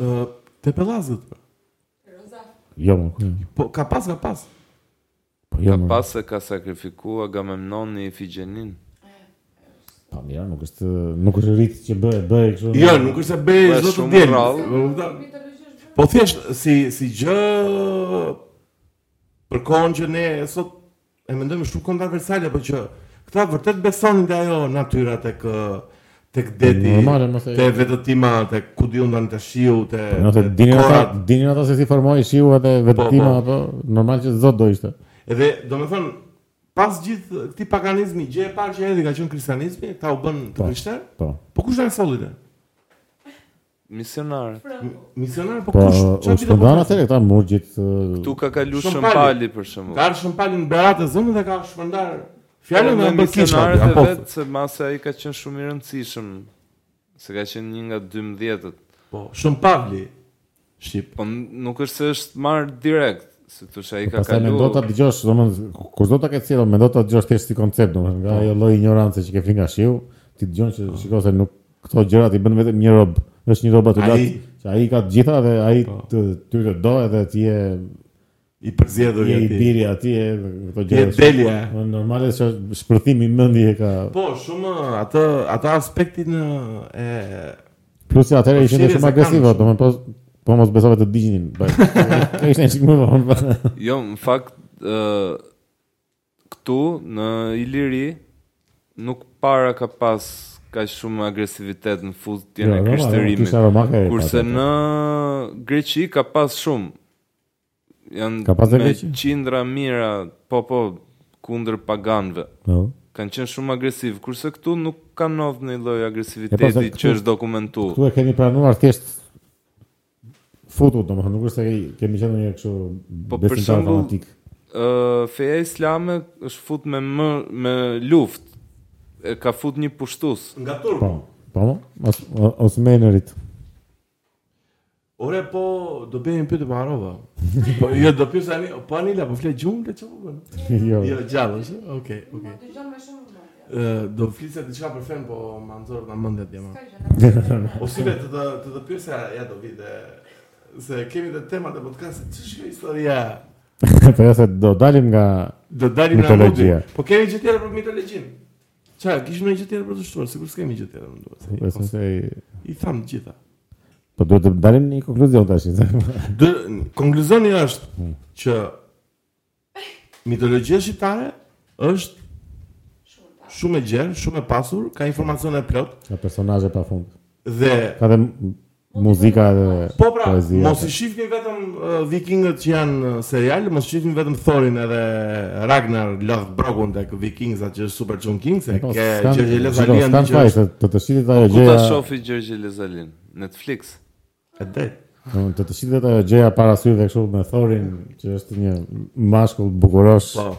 S2: Ë, te Pelazgët. pra.
S5: Roza,
S1: Jo, mo, jo.
S2: Po, ka pas, ka pas.
S1: Po jo.
S3: Ka
S1: mo.
S3: pas se ka sakrifikua Agamemnoni Ifigjenin.
S1: Pa mira, nuk është nuk është rit që bëhet, bëhet kështu.
S2: Jo, nuk është se bëj
S3: Po,
S2: zot të
S3: shumë
S2: diel.
S3: rrallë.
S5: mitologjisht bërë.
S2: Po thjesht si si gjë për kohën që ne sot e mendojmë shumë kontroversiale, por që këta vërtet besonin te ajo natyra tek ë, tek deti,
S1: Normale, mos e-
S2: te vetëtima, tek ku diun tani të shiu, te
S1: Po, Nëse
S2: te
S1: dinin ata,
S2: korat.
S1: dinin ata se si formoi shiu edhe vetëtima
S2: po.
S1: apo normal që zot do ishte.
S2: Edhe domethënë pas gjithë këtij paganizmi, gjë e parë që erdhi ka qenë kristianizmi, këta u bën
S1: Po.
S2: të krishterë.
S1: Po.
S2: Po kush na e solli ne?
S3: Misionare.
S5: Franku.
S2: Misionar po
S1: Po,
S2: kush?
S1: u
S2: Çfarë bide po
S1: shpëndan
S2: kush?
S1: atëre këta murgjit.
S3: Tu ka kalu
S2: Shumë
S3: shëmpali për shembull.
S2: Ka arshën palin në beratë e zëmë dhe ka shpëndar
S3: Fjallën
S2: Fjallën e më kisha
S3: misionarët
S2: apo
S1: po.
S3: e vetë, se masa ai ka qenë shumë i rëndësishëm. Se ka qenë një nga 12-ët.
S2: Po, shumë pavli Shqip
S3: Po n- nuk është se është marrë direkt, se thosh ai ka
S1: Po Pastaj mendo ta
S3: kalu.
S1: dëgjosh, domethënë kur do ta ketë sjellën, mendo ta dëgjosh thjesht si koncept, domethënë nga ajo lloj ignorancë që ke fri nga shiu, ti dëgjon që
S3: Po.
S1: shikoj se nuk këto gjërat i bën vetëm një rob. Është një rob aty
S2: Ai-
S1: lart. Që ai ka të gjitha dhe ai
S2: Po.
S1: të ty të do edhe ti je
S2: I përzjedhur
S1: je
S2: i
S1: i
S2: ati
S1: biri atje këto
S2: Ti e
S1: gjëra.
S2: delja
S1: Po, Normale që shpërthimi i mendjes e ka
S2: Po, shumë atë, atë aspektin e
S1: Plus që atëherë ishin
S2: Përfshirje
S1: shumë
S2: Po, se
S1: agresive,
S2: kanë,
S1: domethënë po po mos besove të digjenin. po, Ka ishte një shikmë vonë. po.
S3: Jo, në fakt ë këtu në Iliri nuk para ka pas ka shumë agresivitet në futjen
S1: Jo,
S3: e
S1: Roma,
S3: krishterimit.
S1: kisha romake e
S3: Kurse
S1: pati.
S3: në Greqi ka pas shumë. Janë
S1: Ka pas dhe
S3: me
S1: Greqi?
S3: qindra mira, po po, kundër paganëve.
S1: Po.
S3: Kanë qenë shumë agresiv, kurse këtu nuk ka ndodhur një lloj
S1: E pas
S3: agresiviteti
S1: dhe këtu-
S3: që është dokumentuar.
S1: Këtu e keni pranuar thjesht futu, domethënë nuk është se kemi qenë një kështu
S3: Po, për
S1: besimtar
S3: shembull,
S1: fanatik.
S3: Ë, feja islame është fut me më me luftë. E ka fut një pushtus.
S2: Nga turp
S1: Po. Po, mo? Os, o- osmenerit.
S2: Ore, po, do bëjmë pyetje për Arova Po, jo, do pyet ani Po, Anila, po fle gjumë, le që po bën
S1: jo.
S2: Jo, gjallë, është? Okej, okej
S5: Dëgjon me shumë vëmendje.
S2: Ë, Do flisë diçka për fen, po ma nxorë nga mendja dje ma
S5: Ka gjë.
S2: O si vetë të të të pyesja ja do vi dhe se kemi të temat e podcastit, ç'është kjo historia?
S1: po ja se do dalim nga
S2: Do dalim nga mudi.
S1: Mitologjia.
S2: Po kemi gjë tjetër për mitologjinë. Çfarë, kishim një gjë tjetër për të shtuar, sigurisht s'kemi gjë tjetër, më duhet.
S1: besoj
S2: se-
S1: se
S2: I tham të gjitha.
S1: po duhet të dalim në një konkluzion tash. se-
S2: Dë, konkluzioni është që mitologjia shqiptare është shumë e gjerë, shumë e pasur, ka informacione plot
S1: Ka personazhe pafund.
S2: dhe
S1: Ka dhe m- muzika dhe
S2: Po pra,
S1: poezia.
S2: mos i shifni vetëm uh, vikingët që janë uh, serial, mos shifni vetëm Thorin edhe Ragnar Lothbrokun tek Vikings atë që është Super John King, se
S1: Po,
S2: ke
S1: s'kan-
S2: Gjergje
S1: shiko,
S2: Lezalia
S1: s'kan
S2: në që
S1: faj,
S2: është
S1: se Të të shitit ajo
S2: Po,
S3: Ku ta
S1: gjëja.
S3: shofi Gjergji Lezalin? Netflix.
S2: e drejtë.
S1: Të të shitet ajo gjëja para syve kështu me Thorin, që është një mashkull bukurosh,
S2: Po,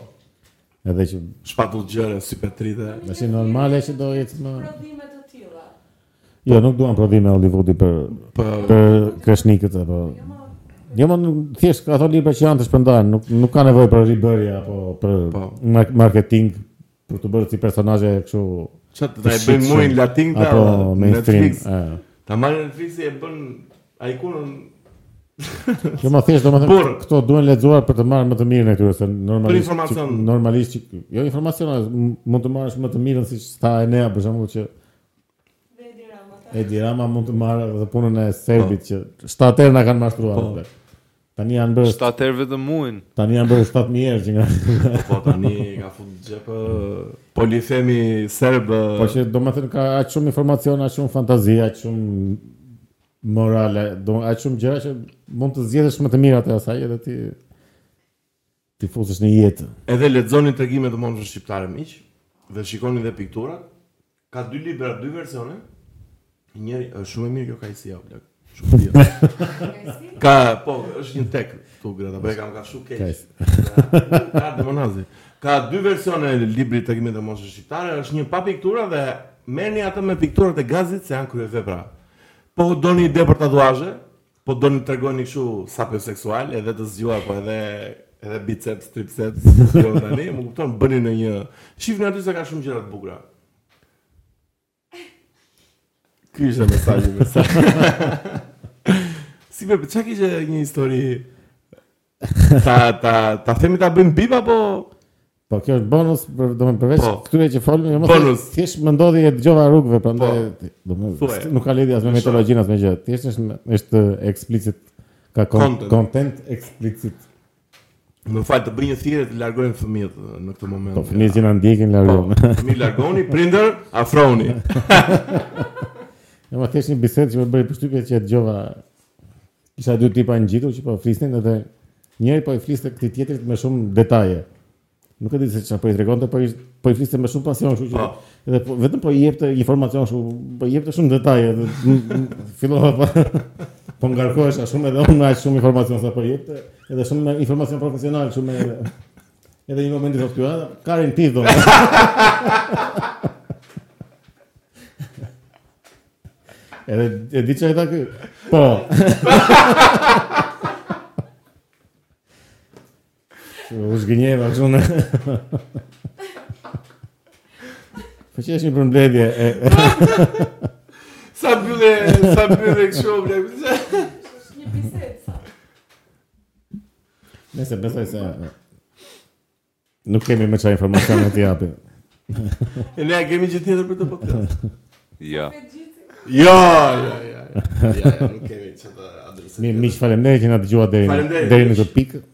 S1: edhe që
S2: shpatull gjëre, sypetrite.
S1: tash normale që do jetë më
S5: Prodhime të tilla.
S1: Jo, nuk duam prodhime Hollywoodi për
S2: Po,
S1: për kreshnikët apo Jo, më nuk- thjesht ato libra që janë të shpërndarë, nuk nuk ka nevojë për ribërje apo për
S2: Po.
S1: mar- marketing për të bërë si personazhe kështu
S2: çfarë të na e
S1: Shit
S2: bëjnë muin
S1: shumë.
S2: latin ta
S1: apo mainstream.
S2: Netflix.
S1: ë.
S2: Ta marrin Netflixi e bën ikonën
S1: Jo më thjesht
S2: Burr.
S1: domethënë këto duhen lexuar për të marrë më të mirën e këtyre se normalisht
S2: informacion.
S1: që- normalisht që, jo informacion as, m- mund të marrësh më të mirën siç tha Enea për shembull që
S5: Vedi Rama.
S1: Edi Rama mund të marrë edhe punën e Serbit që 7 herë na kanë mashtruar.
S2: Po.
S1: Po. Tani janë bërë
S3: 7 herë vetëm muin.
S1: tani janë bërë 7000 njerëz që nga.
S2: Po tani ka fut xhep ë, polifemi Po, serb. ë,
S1: Po që do më thënë ka aq shumë informacion, aq shumë fantazi, aq shumë morale, do aq shumë gjëra që mund të zgjedhësh më të mirat e asaj edhe ti ti futesh në jetë.
S2: Edhe lexoni tregimet e monstrave shqiptare miq dhe shikoni dhe pikturat. Ka dy libra, dy versione. Njëri është shumë e mirë kjo kajsi apo blok. Shumë e mirë. Ka, po, është një tek tu grada, po e kam ka shumë keq.
S1: Kajs.
S2: Ka, ka demonazi. Ka dy versione e librit tregimet e monstrave shqiptare, është një pa piktura dhe merrni atë me pikturat e gazit se janë kryevepra. Po doni ide për tatuazhe, po doni të tregoni kështu sapio seksual, edhe të zgjuar, po edhe edhe biceps, triceps, jo tani, më kupton, bëni në një... Shifni aty se ka shumë gjëra të bukura. Ky ishte mesazhi, mesazhi. si be, çka kishte një histori ta ta ta themi ta bëjmë bip apo
S1: Po kjo është bonus, për, do më përveç
S2: Po.
S1: këtyre që folim, jo më
S2: Bonus.
S1: thënë, thjesht më ndodhi e dëgjova rrugëve, prandaj
S2: Po.
S1: do më
S2: Thuaj.
S1: s- nuk ka lidhje as me metodologjinë as me gjë. Thjesht është është explicit ka kon-
S2: Content.
S1: content explicit.
S2: më fal të bëj një thirrje të largojmë fëmijët ë, në këtë moment.
S1: Po fëmijët që na ndjekin largon.
S2: Mi largoni, prindër, afroni.
S1: Jo, ma thjesht një bisedë që më bëri përshtypje që e dëgjova kisha dy tipa ngjitur që po flisnin edhe njëri po i fliste këtij tjetrit me shumë detaje. Nuk e di se çfarë po i tregonte, po i po i fliste me shumë pasion, kështu që
S2: Po.
S1: edhe po, vetëm po i jepte informacion kështu, po i jepte shumë detaje, edhe m- m- fillova po po ngarkohesha shumë edhe unë aq shumë informacion sa po i jepte, edhe shumë informacion profesional, shumë edhe edhe një moment i thotë ky, "Ah, Karin ti do. Edhe e di çfarë tha ky. Po. U zgënjeva kështu në. Po që është një përmbledhje e, e
S2: sa mbyllë, sa mbyllë kështu blek.
S5: është një bisedë sa.
S1: nëse besoj se e, nuk kemi më çfarë informacione të japim.
S2: E ne kemi gjë tjetër për të podcast.
S3: Ja.
S5: Me gjithë
S2: Jo, jo, jo. Jo, jo, nuk kemi çfarë adresë.
S1: Mi miq faleminderit që na dëgjuat deri në
S2: Faleminderit,
S1: deri në
S2: miq.
S1: këtë pikë.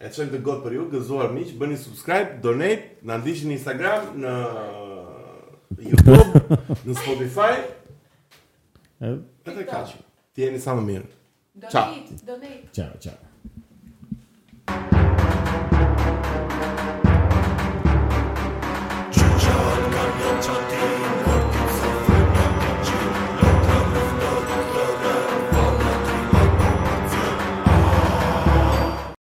S2: e çojmë të gotë për ju, gëzuar miq, bëni subscribe, donate, na ndiqni në Instagram, në YouTube, në Spotify,
S1: E,
S2: edhe kaq. Ti jeni sa më mirë.
S5: donate,
S2: Ciao.
S5: donate.
S1: Ciao, ciao.